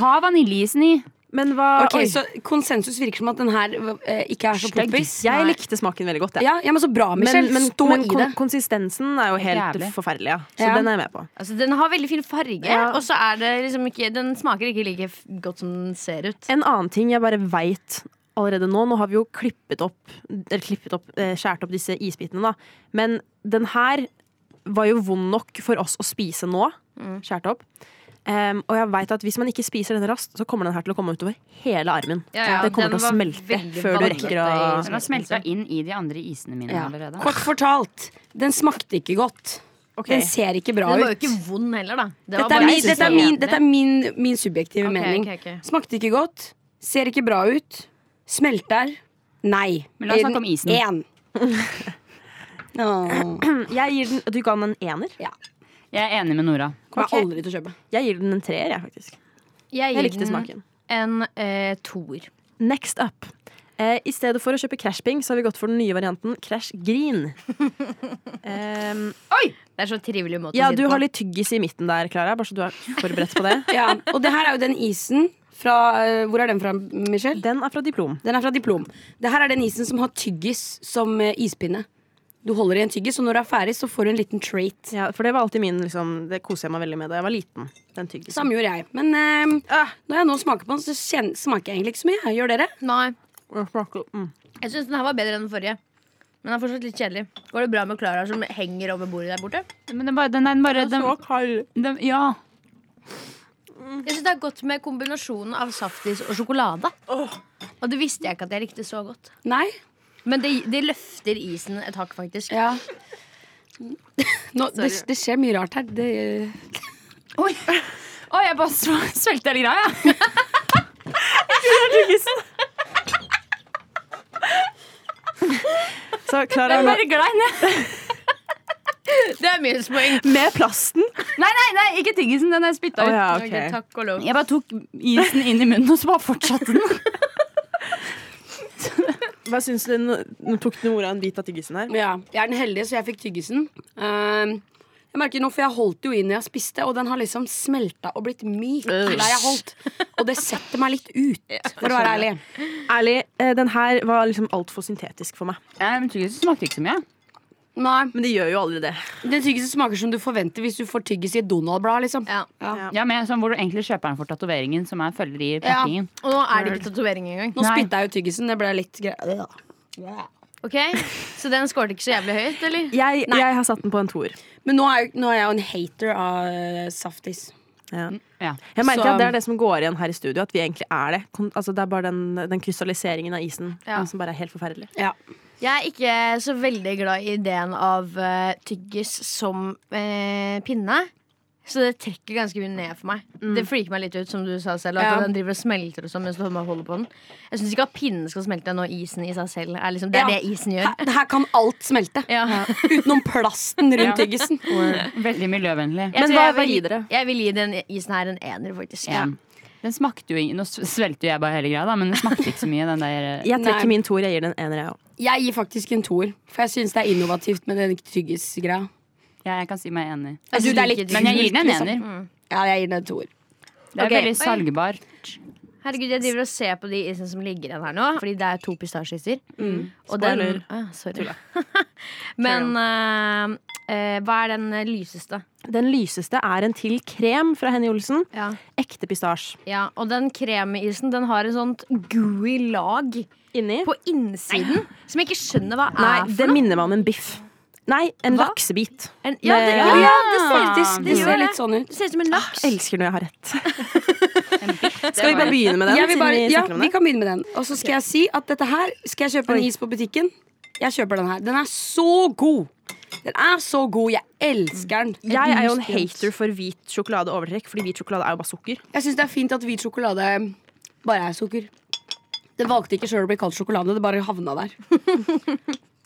B: Ha vaniljeisen i.
C: Men hva
A: Ok,
C: Ah, oi,
A: Så konsensus virker som at den her eh, ikke er så
B: Stygg.
A: poppis.
C: Jeg likte smaken veldig godt, jeg.
A: Ja, ja, men så bra, Michelle.
C: Men, men,
A: Stå
C: men
A: i
C: kon-
A: det.
C: konsistensen er jo helt
B: Jævlig.
C: forferdelig, ja. Så
A: Ja.
C: den er jeg med på.
D: Altså, den har veldig fin farge, og så er det liksom ikke Den smaker ikke like f- godt som den ser ut.
C: En annen ting jeg bare veit allerede nå Nå har vi jo klippet opp, eller klippet opp, eh, skjært opp disse isbitene, da. Men den her var jo vond nok for oss å spise nå.
D: Mm.
C: Skjært opp. Em, og jeg vet at hvis man ikke spiser den raskt, så kommer den her til å komme utover hele armen.
D: Ja, ja,
C: det kommer
D: den
C: til å
D: var
C: smelte
D: veldig
C: før du
D: valgete
C: rekker å
D: i-
B: Den har smelta inn i de andre isene mine
A: Ja.
B: allerede.
A: Kort fortalt, den smakte ikke godt.
C: Ok.
A: Den ser ikke bra
D: Den
A: ut.
D: var jo ikke vond heller, da. Det var
A: Dette er,
D: bare-
A: min,
D: Jeg synes
A: dette er,
D: den var
A: min,
D: bedre.
A: dette er min, min subjektive
D: Ok,
A: mening.
D: ok, ok.
A: Smakte ikke godt. Ser ikke bra ut. Smelter. Nei.
B: Men la oss snakke om isen.
A: Én. Åh,
C: Jeg gir den, Du ga den en ener?
A: ja.
B: Jeg er enig med Nora.
A: Kommer
C: Ok.
A: aldri til å kjøpe.
C: Jeg gir den en treer, jeg, faktisk.
D: Jeg
C: Jeg
D: gir
C: likte
D: den
C: smaken.
D: En eh, toer.
C: Next up. Eh, I stedet for å kjøpe Crash Ping, så har vi gått for den nye varianten Crash
D: (laughs)
C: Green. Ehm, Em,
D: Det er så trivelig måte
C: ja,
D: å si
C: du
D: det på.
C: har litt tyggis i midten der, Klara. Bare så du er forberedt på
D: (laughs)
C: det.
A: Ja. Og det her er jo den isen fra eh, Hvor er den fra, Michelle?
C: Den er fra Diplom.
A: Den er fra Diplom. Det her er den isen som har tyggis som eh, ispinne. Du holder i en tyggis, og når du er ferdig, så får du en liten treat.
C: Ja, for det var alltid min, liksom, det koser jeg meg veldig med da jeg var liten. Den tyggisen.
A: Samme gjorde jeg. Men eh,
C: Ah,
A: når jeg nå smaker på den, så kjen- smaker jeg egentlig ikke så mye. Gjør dere?
D: Nei,
C: den smaker- mm.
D: jeg syns den her var bedre enn den forrige. Men den er fortsatt litt kjedelig. Går det bra med Klara som henger over bordet der borte?
B: Men den bare, den, den bare den,
C: Så kald.
B: den, Ja.
A: Mm.
D: Jeg synes det er godt med kombinasjonen av saftis og sjokolade. Og det visste jeg ikke at jeg likte så godt.
A: Nei?
D: Men det, det løfter isen et hakk, faktisk.
A: Ja. Nå, det, det skjer mye rart her. Det, eh,
B: Oi. Oi, jeg bare (laughs) sv- svelgte hele greia, jeg.
C: Så Klara er
B: Jeg
C: nå-
B: bare glei ned.
D: Det er minuspoeng.
C: med plasten.
B: Nei, nei, nei, ikke tyggisen. Den er spytta
C: Å
B: ut.
C: ja,
D: Okay,
C: ok.
D: takk og lov.
B: Jeg bare tok isen inn i munnen og så bare fortsatte den.
C: Hva syns du? Nå nå tok Nora en bit av tyggisen her.
A: ja. Jeg er den heldige, så jeg fikk tyggisen. Ehm, jeg merker nå, for jeg holdt jo i når jeg spiste, og den har liksom smelta og blitt myk.
C: Øh.
A: Der jeg holdt Og det setter meg litt (laughs) ut, for å være ærlig.
C: Ærlig, eh, den her var liksom altfor syntetisk for meg.
B: Jeg tyggisen smakte ikke så mye.
A: Nei,
C: Men det gjør jo aldri det.
A: Den tyggisen smaker som du forventer hvis du får tyggis i et Donald-blad. liksom
D: Ja.
B: Ja, men sånn Hvor du egentlig kjøper den for tatoveringen, som er følger i pakkingen.
D: Og nå er det ikke tatovering engang.
A: Nå
B: Nei.
A: spytta jeg ut tyggisen. Det ble litt greit.
D: Ok, Så den skåret ikke så jævlig høyt, eller?
C: Jeg, jeg har satt den på en toer.
A: Men nå er, jo- nå er jeg jo en hater av eh, saftis.
C: Ja.
B: Ja.
C: Jeg merker
A: Så-
C: at Det er det som går igjen her i studio, at vi egentlig er det. Kon altså, det er bare den, den krystalliseringen av isen
D: Ja.
C: som bare er helt forferdelig.
A: Ja.
D: Jeg er ikke så veldig glad i ideen av eh, tyggis som eh, pinne. Så det trekker ganske mye ned for meg. Det freaker meg litt ut, som du sa selv.
A: Ja.
D: At den driver og smelter og sånn mens du holder på den. Jeg syns ikke at pinnen skal smelte når isen i seg selv er liksom Det er
A: Ja.
D: det isen gjør.
A: Her, her kan alt smelte. (laughs)
D: Ja.
A: Utenom plasten rundt tyggisen.
B: Veldig miljøvennlig.
D: Jeg
C: Men
D: tror
C: hva-
D: jeg
C: hva gir
D: vil-
C: dere?
D: Jeg vil gi den isen her en ener, faktisk.
B: En. Den smakte jo ing- Nå s- svelgte jo jeg bare hele greia, da, men den smakte ikke så mye. Den der, eh,
C: Jeg
A: Nei.
C: trekker min toer. Jeg gir den en ener, jeg òg.
A: Jeg gir faktisk en toer, for jeg syns det er innovativt med den tyggisgreia.
B: ja, jeg kan si meg enig.
A: Jeg synes det er litt
D: liker
B: Men jeg gir
A: kult,
B: den en
A: liksom.
B: ener.
A: Ja, jeg gir den en toer.
B: Det er
C: Mm. Ok.
B: veldig salgbart.
D: Herregud, jeg driver og ser på de isene som ligger igjen her nå. Fordi det er to pistasjeiser. Og den-
C: Spoiler.
D: Ah, sorry. (laughs) Men eh, eh, hva er den eh, lyseste?
C: Den lyseste er en til krem fra Henny Olsen.
D: Ja.
C: Ekte pistasje.
D: Og den kremisen den har en sånt gooey lag
C: Inni.
D: på innsiden som jeg ikke skjønner hva
C: Nei,
D: er
C: det
D: for noe.
C: minner meg om en biff. Nei, en laksebit.
D: En, ja, det,
C: Ja,
D: ja,
A: ja,
D: det ser ut
A: Det,
D: det gjør
A: ser litt
D: det.
A: sånn ut.
D: Det ser ut som en laks.
C: Jeg elsker når jeg har rett.
B: Skal
C: Skal vi bare begynne med den?
A: Jeg vil
C: siden
A: bare,
C: vi
A: ja,
C: snakker om
A: vi
C: det?
A: kan begynne med den. Og så skal jeg si at dette her skal jeg kjøpe en is på butikken. Jeg kjøper den her. Den er så god! Den er så god. Jeg elsker den.
C: Jeg er jo en hater for hvit sjokolade overtrekk, fordi hvit sjokolade er jo bare sukker.
A: Jeg syns det er fint at hvit sjokolade bare er sukker. Den valgte ikke sjøl å bli kalt sjokolade. Det bare havna der.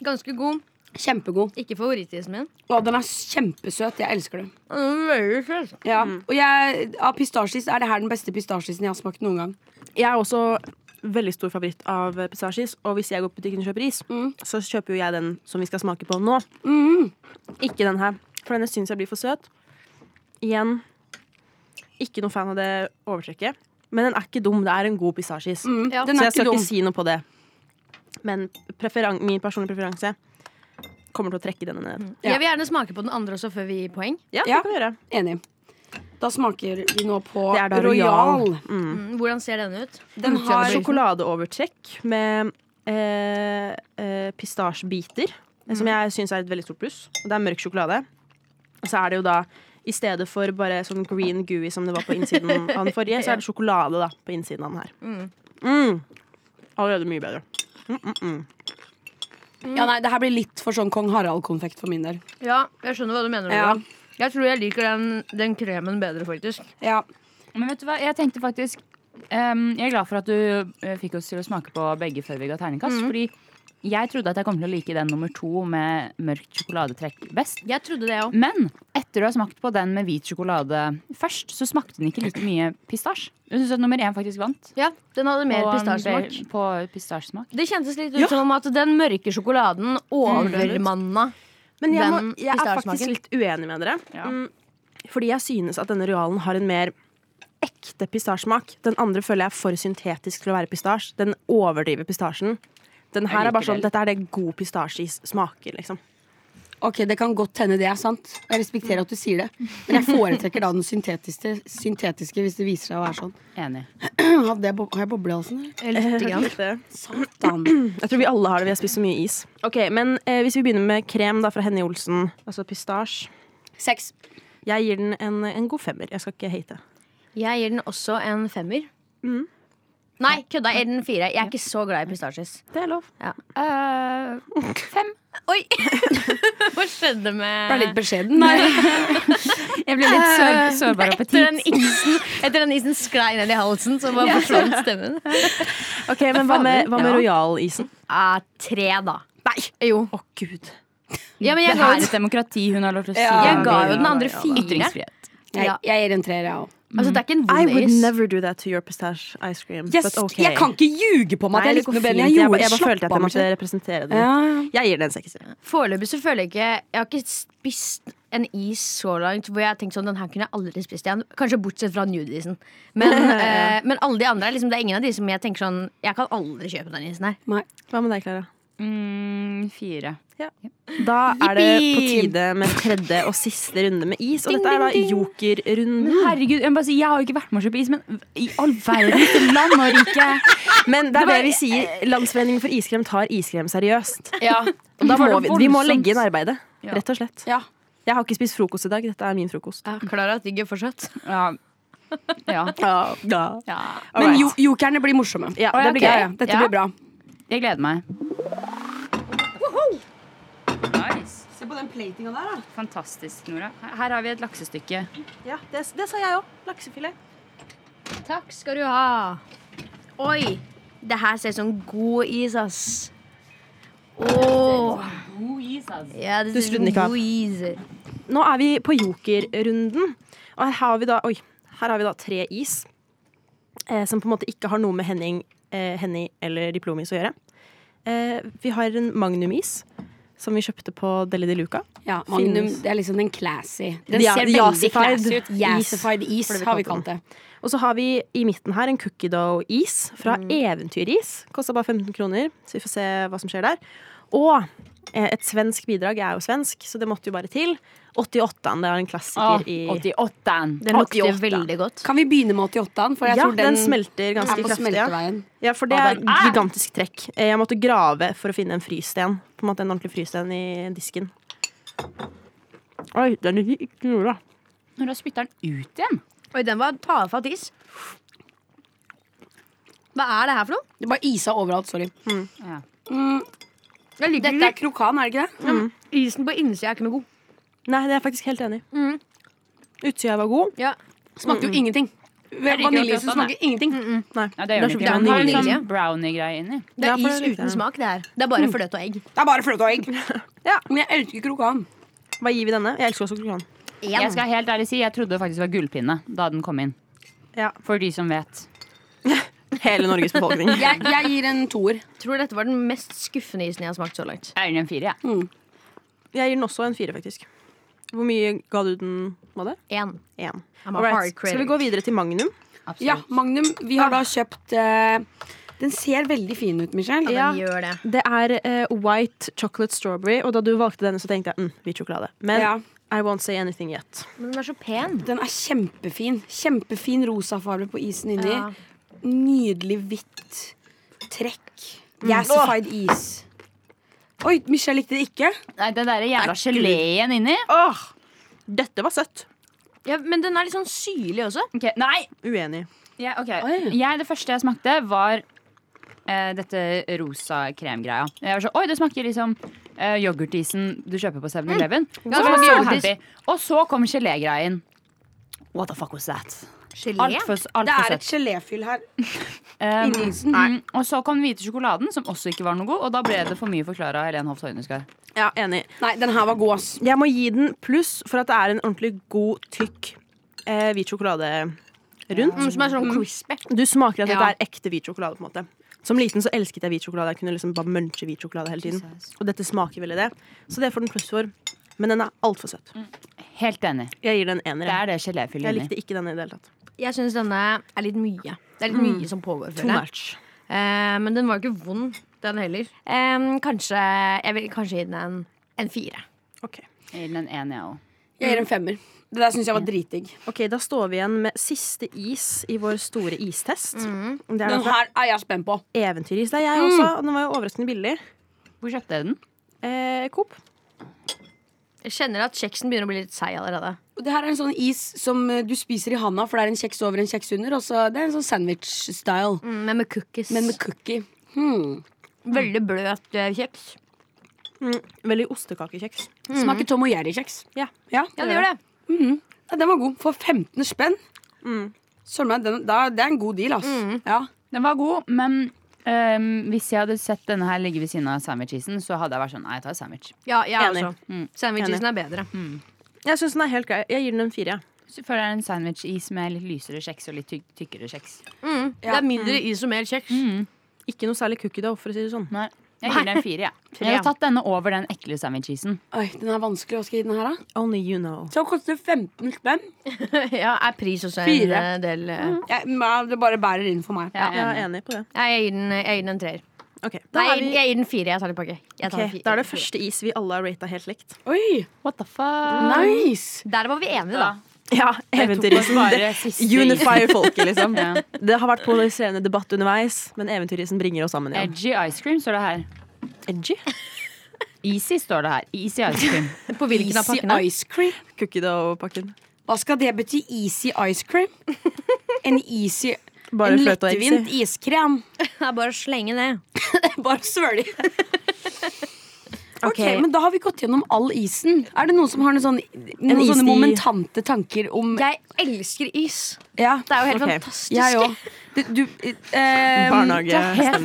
D: Ganske god.
A: Kjempegod.
D: Ikke favorittisen min.
A: Og den er kjempesøt. Jeg elsker den.
D: Veldig søt.
A: Ja.
C: Mm.
A: Og jeg, av pistasjis er det her den beste pistasjisen jeg har smakt noen gang.
C: Jeg er også veldig stor favoritt av pistasjis, og hvis jeg går på butikken og kjøper is, så kjøper jo jeg den som vi skal smake på nå.
A: Mm.
C: Ikke den her, for denne syns jeg blir for søt. Igjen, ikke noe fan av det overtrekket. Men den er ikke dum. Det er en god pistasjis.
D: Ja.
A: Mm. Den
C: Så
A: er
C: jeg skal
A: ikke dum.
C: ikke si noe på det. Men preferan min personlige preferanse kommer til å trekke denne ned.
D: Jeg vil gjerne smake på den andre også før vi gir poeng.
C: Mm. Ja,
A: Ja.
C: det kan vi gjøre.
A: Enig. Da smaker vi nå på
C: Det er da
A: Royal.
C: Royal.
D: Mm, Hvordan ser denne ut?
A: Den har
C: sjokoladeovertrekk med eh, eh, pistasjebiter, eh, som jeg syns er et veldig stort pluss. Og Det er mørk sjokolade. Og så er det jo da i stedet for bare sånn green gooey som det var på (laughs) innsiden av den forrige, så er det sjokolade da på innsiden av den her. Mm. Allerede mye bedre.
A: Ja, nei, det her blir litt for sånn Kong Harald-konfekt for min del.
D: Ja, jeg skjønner hva du mener.
A: Ja.
D: Ola. Jeg tror jeg liker den, den kremen bedre, faktisk.
A: Ja.
B: Men vet du hva, jeg tenkte faktisk ehm, Jeg er glad for at du eh, fikk oss til å smake på begge før vi ga terningkast.
C: Mm.
B: Fordi jeg trodde at jeg kom til å like den nummer to med mørkt sjokoladetrekk best.
D: Jeg trodde det òg.
B: Men etter å ha smakt på den med hvit sjokolade først, så smakte den ikke like mye pistasje. Jeg syns at nummer én faktisk vant.
D: Ja, den hadde mer
B: på, um,
D: pistasjesmak.
B: be- På pistasjesmak.
D: Det kjentes litt ut som om at den mørke sjokoladen overmanna.
C: Men jeg, må,
D: Den
C: jeg er faktisk
D: pistasjesmaken.
C: litt uenig med dere.
B: Ja.
C: Mm, fordi jeg synes at denne royalen har en mer ekte pistasjesmak. Den andre føler jeg er for syntetisk til å være pistasje. Den overdriver pistasjen. Den her er bare sånn,
B: Allikevel.
C: Dette er det god pistasjeis smaker, liksom.
A: Ok, Det kan godt hende det er sant. Jeg respekterer at du sier det. Men jeg foretrekker da den syntetiske, syntetiske hvis det viser seg å være sånn. (clears throat)
B: Enig.
A: Har det bo- har jeg boblehalsen? eller?
D: Litt grann.
C: Jeg
A: (clears throat) Satan.
C: tror vi alle har det. Vi har spist så mye is. Ok, Men eh, hvis vi begynner med krem da, fra Henny Olsen, altså pistasje
A: Seks.
C: Jeg gir den en, en god femmer. Jeg skal ikke hate.
D: Jeg gir den også en femmer. Mm. Nei, kødda. Jeg gir den en fire. Jeg er ikke så glad i pistasjes.
C: Det er lov.
D: Eh,
B: fem.
D: Oi! (laughs) Hva skjedde
A: Ble
D: med
A: litt beskjeden. Nei.
B: Jeg ble litt sår, sårbar
D: eh, etter den,
B: appetitt.
D: isen, etter den isen sklei ned i halsen, så bare (laughs) forsvant stemmen.
C: Ok, Men hva med, hva med
B: Ja.
C: royalisen?
D: Ah, tre, da.
C: Nei!
D: Jo.
C: Å, gud.
D: Ja, men
B: Det
D: jeg ga,
B: her er et demokrati hun har lov til å si.
A: Ja,
D: jeg ga jo
C: ja,
D: den andre
C: ja, ja.
D: fire.
B: Ytringsfrihet.
A: Jeg, jeg gir en treer, jeg òg.
D: Altså, det er ikke en
C: I
D: vond
C: would
D: is.
C: never do that to your pistache ice cream.
A: Jeg,
C: but okay.
A: jeg kan ikke ljuge på meg at
C: Nei,
A: jeg
C: det
A: likte
C: går
A: noe bedre.
C: fint.
A: enn Jeg
C: bare-
A: gjorde
C: jeg bare følte at jeg
A: slapp av
C: måtte representere
A: meg.
C: det. Jeg gir den en sekser.
D: Foreløpig så føler jeg ikke Jeg har ikke spist en is så langt hvor jeg har tenkt sånn, den her kunne jeg aldri spist igjen. Kanskje bortsett fra nudisen.
C: (laughs)
D: Men, eh, men alle de andre er liksom, det er ingen av de som jeg tenker sånn Jeg kan aldri kjøpe den isen her.
A: Nei.
C: Hva med deg, Klara?
B: Mm, fire.
C: Da er det på
A: Yippee!
C: tide med tredje og siste runde med is, og dette er da jokerrunden.
B: Herregud, jeg, må bare si, jeg har jo ikke vært med å kjøpe is, men i all verdens land og rike
C: Men det er
B: Det var-
C: det vi sier. Landsforeningen for iskrem tar iskrem seriøst.
A: Ja.
C: Og da
B: Var
C: Eh, må
B: det
C: vi, vi må
B: voldsomt?
C: legge inn arbeidet,
B: Ja.
C: rett og slett.
A: ja.
C: Jeg har ikke spist frokost i dag. Dette er min frokost.
D: Klara digger fortsatt.
B: Ja. ja.
C: Ja,
A: Men jo, jokerne blir morsomme.
C: Ja,
A: Å,
C: det blir
A: ok,
C: gøy.
A: ja. Dette
B: Ja.
A: blir bra.
B: Jeg gleder meg. Nice.
C: Se på den platinga der, da.
B: Fantastisk, Nora. Her- Her har vi et laksestykke.
C: Ja, det, det sa jeg òg. Laksefilet.
D: Takk skal du ha. Oi. Det her ser ut som god is, ass. Åh. Ja, det
C: Du
D: ser ut
C: skrudde den
D: som
C: ikke av.
D: god is.
C: Nå er vi på jokerrunden. Og her har vi da, oi, her har vi da tre is eh, som på en måte ikke har noe med Henning, eh, Henny eller Diplomis å gjøre. Eh, vi har en Magnum-is som vi kjøpte på Deli de Luca.
A: Ja, Magnum
C: Finnes.
A: det er liksom den classy. Den
C: Ja,
A: ser veldig
C: jasified
A: classy ut.
C: is.
A: Jasified is,
C: For det vi
A: har vi
C: kalte
A: kalt det.
C: Og så har vi i midten her en cookie dough-is fra
A: Mm.
C: Eventyris. Kosta bare 15 kroner, så vi får se hva som skjer der. Og eh, et svensk bidrag. Jeg er jo svensk, så det måtte jo bare til. 88-en, det er
A: Ah,
C: en
B: Å,
C: klassiker i
B: 88-en.
D: Den lukter
C: 88.
D: veldig godt.
A: Kan vi begynne med 88-en? For jeg
C: Ja,
A: tror
C: den
A: den,
C: smelter
A: er
C: ganske
A: på
C: kraftig. Ja.
A: smelteveien.
C: Ja, for det
B: Ja,
C: er
B: den er-
C: gigantisk trekk. Eh, Jeg måtte grave for å finne en frysten. På en måte en ordentlig frysten i disken. Oi, den er ikke noe bra.
B: Nora spytter den ut igjen.
D: Oi, den var tafatt is. Hva er det her for noe?
A: Det bare isa overalt. Sorry.
B: Ja.
D: Jeg liker
A: Mm, Dette er
D: ikke
A: krokan, er det ikke det?
D: Isen på innsida er ikke noe god.
C: Nei, det er jeg faktisk helt enig i. Utsida var god.
D: Ja.
A: Smaker jo ingenting. Vaniljeisen
B: akkurat den,
A: smaker ingenting.
C: Nei,
B: Ja, det gjør den
C: så
B: ikke.
C: vidt jeg
B: Den har en
C: vanilje.
D: vanilje.
B: sånn brownie-greie inni.
D: Det
C: Ja,
D: er Mm.
C: for
D: is
C: det likte jeg.
D: uten smak, det her. Det er bare fløte og egg.
A: Det er bare fløte og egg.
C: Ja.
A: Men jeg elsker krokan.
C: (laughs) Hva gir vi denne? Jeg elsker også krokan.
D: Én.
B: Jeg skal helt ærlig si, jeg trodde det faktisk var gullpinne da den kom inn.
C: Ja.
B: For de som vet.
C: Hele Norges befolkning.
A: Jeg, jeg gir en toer.
D: tror dette var den mest skuffende isen jeg har smakt så langt.
B: Jeg gir den en fire, jeg.
C: (laughs) Jeg gir den også en fire, faktisk. Hvor mye ga du den, var det?
D: Én.
C: Én.
D: I'm a hard
C: Alright,
D: critic.
C: Skal vi gå videre til Magnum?
B: Absolutt.
A: Ja, Magnum, vi har da kjøpt eh, Den ser veldig fin ut, Michelle.
D: Ja, den gjør det.
C: Det er eh, white chocolate strawberry, og da du valgte denne, så tenkte jeg mm, hvit sjokolade. Men
A: Ja.
C: I won't say anything yet.
D: Men den er så pen.
A: Den er kjempefin. Kjempefin rosa farge på isen inni.
D: Ja.
A: Nydelig hvitt trekk. Yassified is. Oi, Michelle likte det ikke.
B: Nei, den derre jævla geleen inni.
C: Åh, Dette var søtt.
D: Ja, men den er litt sånn syrlig også.
B: Ok, Nei!
C: Uenig.
B: Jeg, ok.
A: Oi.
B: jeg, det første jeg smakte, var eh, dette rosa kremgreia. Jeg var så, Oi, det smaker liksom eh, yoghurtisen du kjøper på 7-Eleven. Så var jeg så happy. Og så kom gelégreien. What the fuck was that?
D: Gelé.
B: Altfor alt
A: Det
B: for
A: er
B: søtt.
A: et geléfyll her.
B: Um,
A: inni isen.
B: mm, og så kom den hvite sjokoladen, som også ikke var noe god. Og da ble det for mye forklara av Helen Hoff Torneskar.
C: Ja, enig.
A: Nei, den her var god, ass.
C: Jeg må gi den pluss for at det er en ordentlig god, tykk eh, hvit sjokolade rundt.
D: Mm, Som er sånn crispy.
C: Du smaker at
A: Ja.
C: dette er ekte hvit sjokolade. på en måte Som liten så elsket jeg hvit sjokolade. Jeg kunne liksom bare munche hvit sjokolade hele tiden. Og dette smaker veldig det. Så det får den pluss for. Men den er altfor søt.
B: Helt enig.
C: Jeg gir den en ener.
B: Det
C: jeg.
B: er det geléfyllet
C: Jeg
B: inni.
C: likte ikke den i det hele tatt.
D: Jeg syns denne er litt mye. Det er litt mye som pågår.
C: Too
D: føler jeg.
C: much.
D: Eh, men den var ikke vond, den heller. Eh, kanskje jeg vil kanskje gi den en, en fire.
C: Ok.
B: Jeg gir den en en, jeg òg.
A: Jeg
C: Mm.
A: gir en femmer. Det der syns jeg var dritdigg.
C: ok, da står vi igjen med siste is i vår store istest. Det er da
A: Den
C: fra
A: her er jeg spent på.
C: eventyris. Det er jeg også, og den var jo overraskende billig.
B: Hvor kjøpte jeg den?
C: Eh, Coop.
D: Jeg kjenner at kjeksen begynner å bli litt seig allerede.
A: Og Det her er en sånn is som eh, du spiser i handa, for det er en kjeks over en kjeks under. Og så det er en sånn sandwich-style,
D: Mm, men med cookies. Mm.
A: men med cookie. Hmm.
D: Veldig bløt eh, kjeks.
C: Mm, veldig ostekakekjeks.
A: Smaker Tom og Jerry-kjeks.
C: Mm. Ja.
A: Ja,
D: Ja, det gjør det.
A: Ja, den var god. For 15 spenn.
C: Mm.
A: Søren meg, den, da, det er en god deal, ass. Ja.
B: Den var god, men øhm, hvis jeg hadde sett denne her ligge ved siden av sandwichisen, så hadde jeg vært sånn Nei, jeg tar sandwich.
D: Ja, jeg
C: Enig.
D: også. Sandwichisen er bedre.
C: Jeg syns den er helt grei. Jeg gir den en fire. jeg.
B: Så føler jeg det er en sandwich-is med litt lysere kjeks og litt tyk tykkere kjeks.
D: Mm. Det er mindre is og mer kjeks.
C: Ikke noe særlig cookie dough, for å si det sånn.
B: Nei. Jeg gir den en (laughs) fire, jeg. Jeg hadde tatt denne over den ekle sandwich-isen.
A: Oi, den er vanskelig. Hva skal jeg gi den her, da?
C: Only you know.
A: Så koster det 15 spenn.
D: (laughs) ja, er pris også en
A: Fire. Mm.
D: eh, del eh,
A: Jeg, nei, det bare bærer inn for meg.
B: Jeg er
C: Jeg er
B: enig.
C: enig på det.
D: Nei, jeg gir den, jeg gir den en treer.
C: Ok, Da,
D: Nei,
C: er vi,
D: jeg gir den fire. Jeg tar den i pakke. Jeg tar
C: ok,
D: den fire.
C: da er det første is vi alle har rata helt likt.
A: Oi,
B: What the fuck?
A: nice!
D: Der var vi enige, da.
C: Ja,
B: eventyrisen. Det-
C: (laughs) Unifier folket, liksom.
B: (laughs) Ja.
C: Det har vært polariserende debatt underveis, men eventyrisen bringer oss sammen igjen.
B: Edgy ice cream står det her.
C: Edgy.
B: Easy står det her. Easy ice (laughs) cream.
D: På hvilken av
A: Easy
D: pakkene?
A: ice cream.
C: Cookie dough-pakken.
A: Hva skal det bety? Easy ice
C: (laughs)
A: cream? En easy
C: Bare
A: En
C: fløte og
A: lettvint
C: egg. si.
A: iskrem. (laughs)
D: Det er bare å slenge ned.
A: Bare svøle i. (laughs) Ok,
C: Ok.
A: men Da har vi gått gjennom all isen. Er det noen som har noen, sånn, noen
C: is
A: sånne
C: de-
A: momentante tanker om
D: Jeg elsker is.
A: Ja,
D: Det er jo helt
C: Ok.
D: fantastisk.
A: jeg òg. Du, du eh,
C: Barnehage.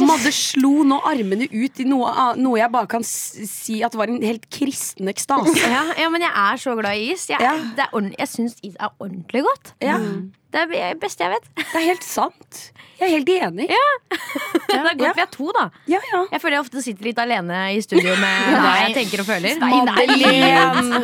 A: Madde slo nå armene ut i noe, a- noe jeg bare kan s- si at var en helt kristen (laughs) ekstase.
D: Ja, ja, men jeg er så glad i is. Jeg,
A: Ja.
D: det er ordent- jeg syns is er ordentlig godt.
A: Ja,
D: Det er det beste jeg vet.
A: Det er helt sant. Jeg er helt enig. Ja,
D: (laughs) Det er godt vi er to, da.
A: ja.
D: Jeg føler jeg ofte sitter litt alene i studio (laughs) med hva jeg tenker og føler.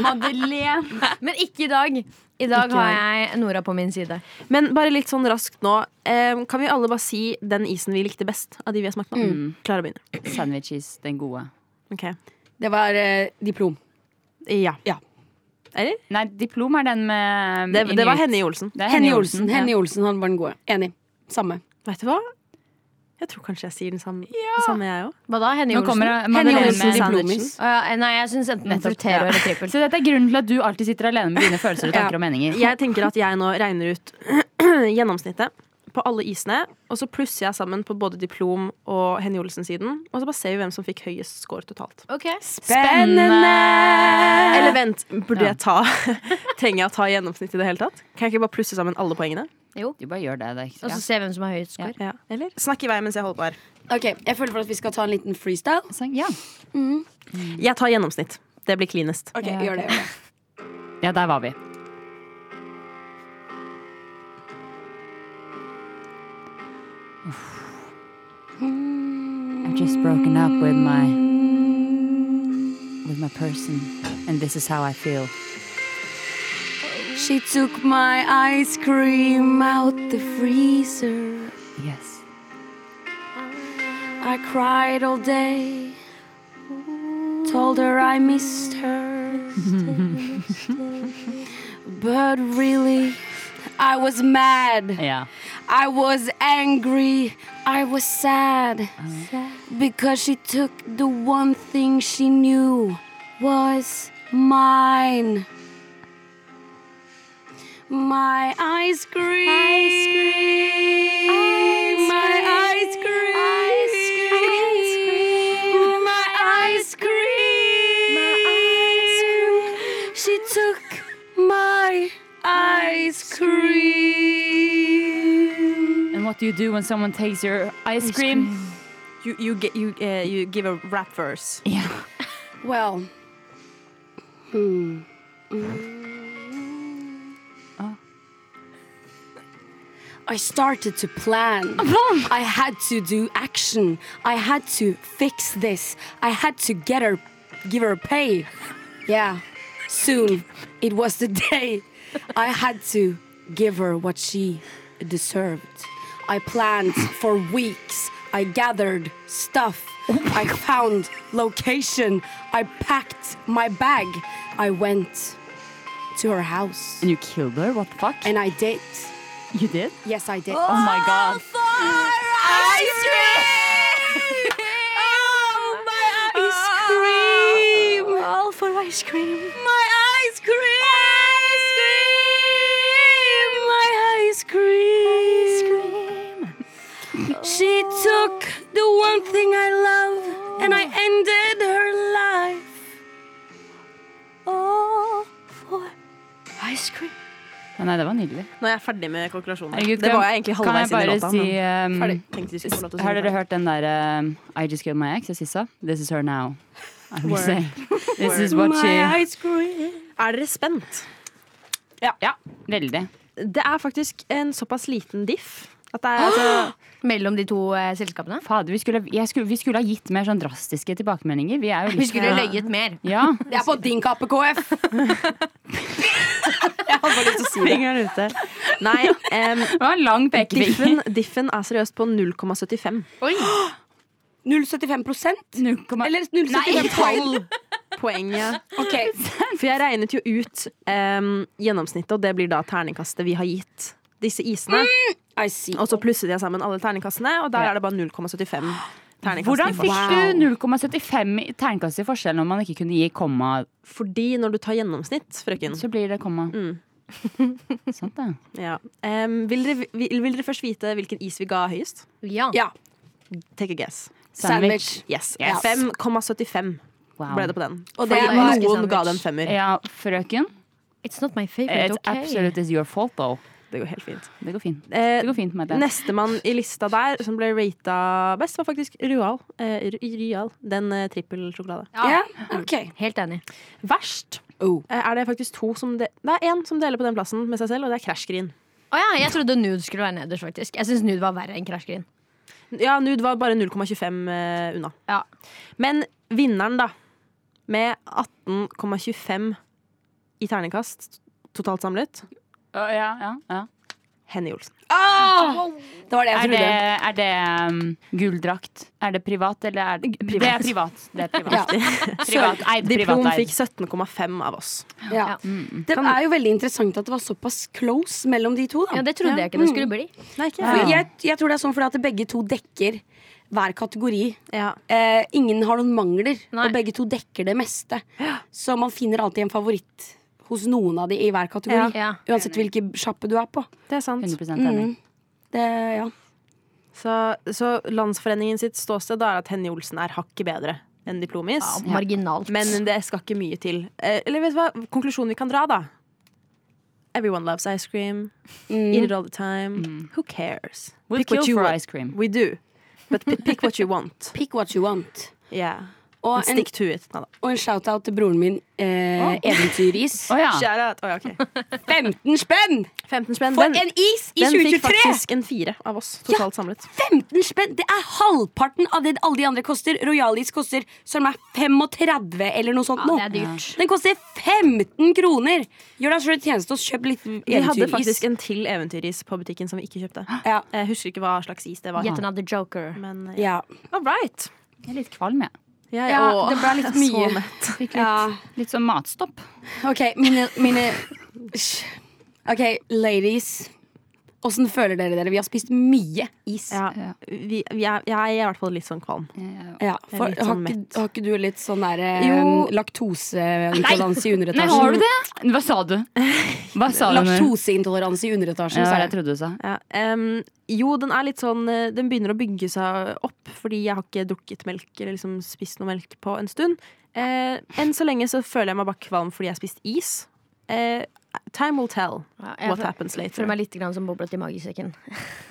A: Madeleine.
D: Men ikke i dag. I dag har jeg Nora på min side.
C: Men bare litt sånn raskt nå. eh, Kan vi alle bare si den isen vi likte best av de vi har smakt nå? Klara begynner.
B: Sandwich-is, den gode.
C: Ok.
A: Det var eh, diplom.
C: Ja.
A: Ja.
C: Eller?
B: Nei, diplom er den med
C: Det, det var
B: inuit.
C: Henny Olsen.
B: Det er
A: Henny Olsen.
B: ja.
A: Henny Olsen han var den gode. Enig. Samme.
C: Vet du hva? Jeg tror kanskje jeg sier den samme, det samme jeg òg.
D: Hva da? Henny
B: Nå kommer
D: Olsen?
B: det
A: Henny
B: Madeleine
A: Olsen
B: med-
A: diplomis.
D: Å ja, nei, jeg syns enten
B: Nettopp,
D: frutero
B: ja.
D: eller (laughs) trippel.
B: Så dette er grunnen til at du alltid sitter alene med dine følelser og tanker og meninger.
C: Jeg tenker at jeg nå regner ut (clears throat) gjennomsnittet på alle isene, og så plusser jeg sammen på både Diplom og Henny Olsen-siden. Og så bare ser vi hvem som fikk høyest score totalt.
D: Ok
A: Spennende!
C: Eller vent, burde jeg ta (laughs) Trenger jeg å ta gjennomsnitt i det hele tatt? Kan jeg ikke bare plusse sammen alle poengene?
B: Du bare gjør det. det er ikke-
D: Og
B: ja.
D: så se hvem som har høyest score.
C: Ja. Eller? Snakk i vei mens jeg holder på her.
A: Ok, Jeg føler for at vi skal ta en liten freestyle.
B: Så, ja.
C: Jeg tar gjennomsnitt. Det blir cleanest.
A: Ok,
B: Ja,
A: gjør det, gjør det.
B: ja, der var vi. Uff. I've just broken up with my with my person, and this is how I feel.
A: She took my ice cream out the freezer.
B: Yes.
A: I cried all day. Told her I missed (laughs) her. but really, I was mad.
B: Ja.
A: I was angry. I was sad. Uh-huh. Because she took the one thing she knew was mine. My ice cream. Ice cream. My ice cream. Ice cream. My ice cream. My ice cream. She took my ice cream.
B: And what do you do when someone takes your ice cream?
C: You, you, get, you, eh, you give a rap verse.
B: Ja.
A: Well. hmm.
B: Ah.
A: I started to plan. I had to do action. I had to fix this. I had to get her, give her pay. Yeah, soon it was the day. I had to give her what she deserved. I planned for weeks. I gathered stuff. I found location. I packed my bag. I went to her house.
B: And you killed her? What the fuck?
A: And I did.
B: you did?
A: Yes, I did.
B: Oh my
C: Ah.
B: god.
A: ice cream! Oh, my ice cream!
B: Oh.
A: All for ice cream. My ice cream! Ice cream! My ice cream! She took the one thing I love and I ended her life. All for ice cream.
B: Ja, Nei, det var nydelig.
C: Nå er jeg ferdig med kalkulasjonen.
B: Herregud,
C: det
B: kan-
C: var jeg egentlig
B: kan jeg
C: halvveis inn i
B: bare
C: låta.
B: Si,
C: men
B: um,
C: ferdig. Tenkte vi skulle få lov til å
B: Har
C: synge
B: dere
C: ferdig.
B: hørt den der um, I just killed my ex av Sissa? This is her now. I'm just
C: Word. (laughs)
B: saying. This is what she
A: My ice cream.
C: Er dere spent?
B: Ja, veldig.
C: Det er faktisk en såpass liten diff at det er
B: (gasps)
C: altså
D: Mellom de to eh, selskapene.
B: Fader, vi skulle, jeg skulle, vi skulle ha gitt mer sånn drastiske tilbakemeldinger. Vi er jo
D: Vi
C: (laughs)
B: litt
D: skulle løyet mer.
B: Ja.
A: Det er på din kappe, KF. (laughs) Jeg hadde bare lyst til å si det.
C: Fingeren ute. Nei, em,
B: Det var en lang (laughs) pekefinger.
C: diffen, diffen er seriøst på 0,75
A: 0,75 Eller
B: Eller
A: 0,75 tall.
C: poenget.
A: Ok,
C: For jeg regnet jo ut em, gjennomsnittet, og det blir da terningkastet vi har gitt disse isene.
A: I see.
C: Og så plusset jeg sammen alle terningkastene, og der
B: Ja.
C: er det bare 0,75 terningkast.
B: (laughs) Hvordan
C: i
B: fikk
C: forskjell.
B: du 0,75 i terningkast i forskjell når man ikke kunne gi komma?
C: Fordi når du tar gjennomsnitt, frøken
B: Så blir det komma.
C: Mm.
B: (laughs) Sant, det.
C: ja. em, vil, dere, vil, vil dere først vite hvilken is vi ga høyest?
D: Ja.
A: Ja,
C: Take a guess.
A: sandwich.
C: Yes.
B: Yes.
C: 5,75
B: Wow.
C: ble det på den.
A: Og det
C: Fordi
A: er
D: faktisk
C: noen
D: sandwich.
C: ga den femmer.
B: Ja, frøken.
D: It's not my favorite.
B: It
D: ok
B: absolutely is your fault, though.
C: Det går helt fint.
B: Det går fint.
C: Eh,
B: Det går fint med det.
C: Nestemann i lista der som ble rata best, var faktisk Rual. Eh, Ru- Rual. Den eh, trippelsjokolade.
A: Ja, ok.
D: Helt enig.
C: Verst
A: Oh.
C: eh, er det faktisk to som de Det er én som deler på den plassen med seg selv, og det er Crash Green.
D: Å ja, jeg trodde nude skulle være nederst, faktisk. Jeg syns nude var verre enn krasjgrin.
C: Ja, Nude var bare 0,25 eh, unna.
D: Ja.
C: Men vinneren, da, med 18,25 i terningkast totalt samlet,
B: Å, ja, ja, ja.
C: Henny Olsen.
A: Det var det jeg
B: Er det,
A: trodde.
B: er det um, gulldrakt? Er det privat, eller er det Det er privat. (laughs) Det er privat.
A: Ja.
B: privat. Eid,
C: Diplom
B: privateid.
C: fikk 17,5 av oss.
A: Ja. Det er jo veldig interessant at det var såpass close mellom de to.
D: Ja,
A: Da. Mm.
D: det trodde jeg ikke det skulle bli.
C: Nei, ikke
A: For Jeg, jeg tror det er sånn fordi at begge to dekker hver kategori.
C: Ja.
A: Eh, ingen har noen mangler,
D: Nei.
A: og begge to dekker det meste. Så man finner alltid en favoritt hos noen av de i hver kategori.
D: Ja.
A: Uansett hvilken sjappe du er på.
C: Det er sant.
B: Mm. 100 enig.
A: Det, ja.
C: Så, så Landsforeningen sitt ståsted da er at Henny Olsen er hakket bedre enn diplomis.
D: Ja, marginalt.
C: Men det skal ikke mye til. Eh, Eller vet du hva, konklusjonen vi kan dra, da. Everyone loves ice cream. Eat it all the time. Who cares?
B: We'll
C: what
B: kill
C: you
B: for
C: want.
B: ice cream.
C: We do. But pi- pick what you (laughs) want.
A: Pick what you want.
C: Yeah.
A: Og en,
C: Stick to it. Neida.
A: og en shout-out til broren min, eh, Eventyris.
D: (laughs)
B: Å ja.
C: Shout out. Oi, (laughs) ok.
A: 15 spenn
C: 15 spenn.
A: for
C: Den,
A: en is i
C: den fikk
A: 2023!
C: faktisk en fire av oss totalt samlet.
A: 15 spenn! Det er halvparten av det alle de andre koster. Royalis koster som er 35 eller noe sånt
D: Ja,
A: nå.
D: det er dyrt.
A: Den koster 15 kroner! Gjør deg sjøl en tjeneste og kjøp litt
C: Vi hadde
A: eventyris.
C: faktisk en til eventyris på butikken som vi ikke kjøpte.
A: Ja.
C: Jeg husker ikke hva slags is det var.
D: Yet another joker.
C: Men eh,
A: Ja.
C: all right.
B: Jeg er litt kvalm, jeg.
C: Jeg,
A: Ja,
C: åh,
A: det ble litt
C: jeg er
A: mye.
C: (laughs) Så mett.
B: Fikk litt,
A: ja.
B: litt sånn matstopp.
A: Ok, mine, mine Hysj. Ok, ladies. Åssen føler dere dere? Vi har spist mye is.
C: Ja,
B: Ja.
C: vi, vi er, jeg er i hvert fall litt sånn
B: Eh,
C: kvalm.
A: Ja, for,
C: Jeg er litt
A: har,
C: sånn
A: ikke,
C: mett.
A: har ikke du litt sånn der
C: Jo.
A: eh, laktoseintoleranse i underetasjen?
B: det? altså- Hva sa (laughs) du? Hva sa du? nå?
A: Laktoseintoleranse i underetasjen,
B: Ja,
A: sa
B: hva jeg
A: jeg.
B: trodde du sa.
C: Ja, em, jo, den er litt sånn eh, Den begynner å bygge seg opp fordi jeg har ikke drukket melk eller liksom spist noe melk på en stund. Eh, enn så lenge så føler jeg meg bare kvalm fordi jeg har spist is. Eh, time will tell
D: Ja, jeg
C: what
D: føl-
C: happens later.
D: Føler meg litt grann som boblet i magesekken.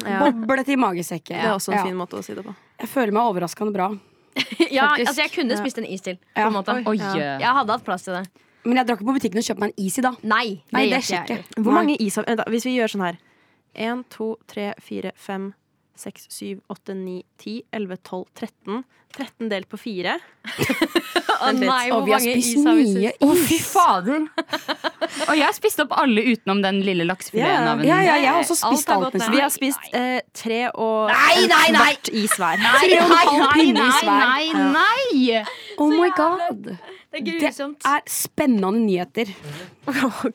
C: Ja,
A: Boblet i magesekken.
C: det er også en
A: Ja.
C: fin måte å si det på.
A: Jeg føler meg overraskende bra.
D: (laughs) ja,
A: Faktisk.
D: altså jeg kunne spist en is til. På en måte.
B: Oi.
D: Jeg hadde hatt plass til det.
A: Men jeg drar ikke på butikken og kjøper meg en is i dag.
D: Nei, det,
A: Nei, det
D: gjør
A: skjer
D: jeg.
A: ikke.
C: Hvor
A: Nei.
C: mange is har vent da, Hvis vi gjør sånn her. Én, to, tre, fire, fem, seks, syv, åtte, ni, ti, elleve, tolv, 13. 13 delt på fire.
D: Å nei,
A: Og
D: hvor
A: vi har
D: mange
A: spist
D: is har vi spist?
A: mye
B: Å,
A: is.
B: fy fader! (laughs) Og jeg spiste opp alle utenom den lille laksefileten
C: Ja,
B: av en
A: Ja, ja, jeg har også
D: Alt
A: spist
D: har
A: alt,
D: gått ned.
A: nesten.
C: Vi har spist eh, tre og
B: Nei, nei,
C: en
B: nei!
C: kvart is hver. (laughs)
B: Nei,
A: Tre og en halv
B: nei,
A: pinne i
B: nei,
A: sverd.
B: nei, nei!
A: Oh my god!
D: Det er
A: Det
D: grusomt.
A: er spennende nyheter.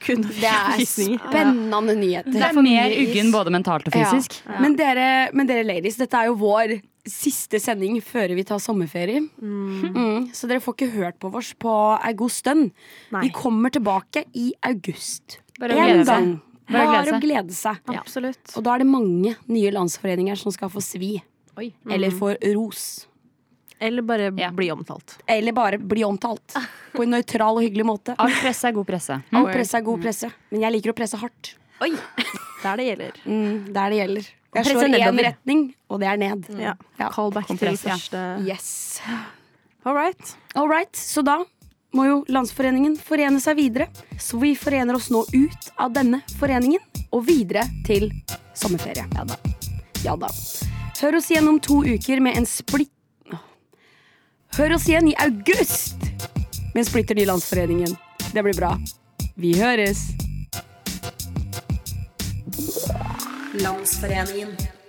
C: Kun
A: Det (laughs) er spennende nyheter.
B: Det er mer uggen både mentalt og fysisk.
A: Ja. Men, dere, men dere ladies, dette er jo vår siste sending før vi tar sommerferie. Mm, så dere får ikke hørt på oss på ei god stund.
C: Nei.
A: Vi kommer tilbake i august.
B: Bare å
A: En
B: glede seg.
A: gang.
B: Bare å glede
A: Bare å
B: seg.
A: glede seg.
C: Absolutt.
A: Og da er det mange nye landsforeninger som skal få svi.
D: Oi.
A: Eller få ros.
C: Eller bare
B: Ja.
C: bli omtalt.
A: Eller bare bli omtalt. På en nøytral og hyggelig måte.
B: All presse er god presse.
A: All presse
B: Mm.
A: er god presse, men jeg liker å presse hardt.
C: Der det gjelder.
A: Mm, der det gjelder. Jeg
B: presse
A: slår i én
B: nedover.
A: retning, og det er ned.
C: Mm. Ja.
A: Ja.
C: Callback til
B: Kompress, ja.
C: første
A: Yes.
C: Eh, All right.
A: All right, så da må jo Landsforeningen forene seg videre. Så vi forener oss nå ut av denne foreningen og videre til sommerferie. Ja da. Ja da. Hør oss igjen om to uker med en splitt... Hør oss igjen i august med en splitter ny Landsforeningen. Det blir bra. Vi høres. Landsforeningen.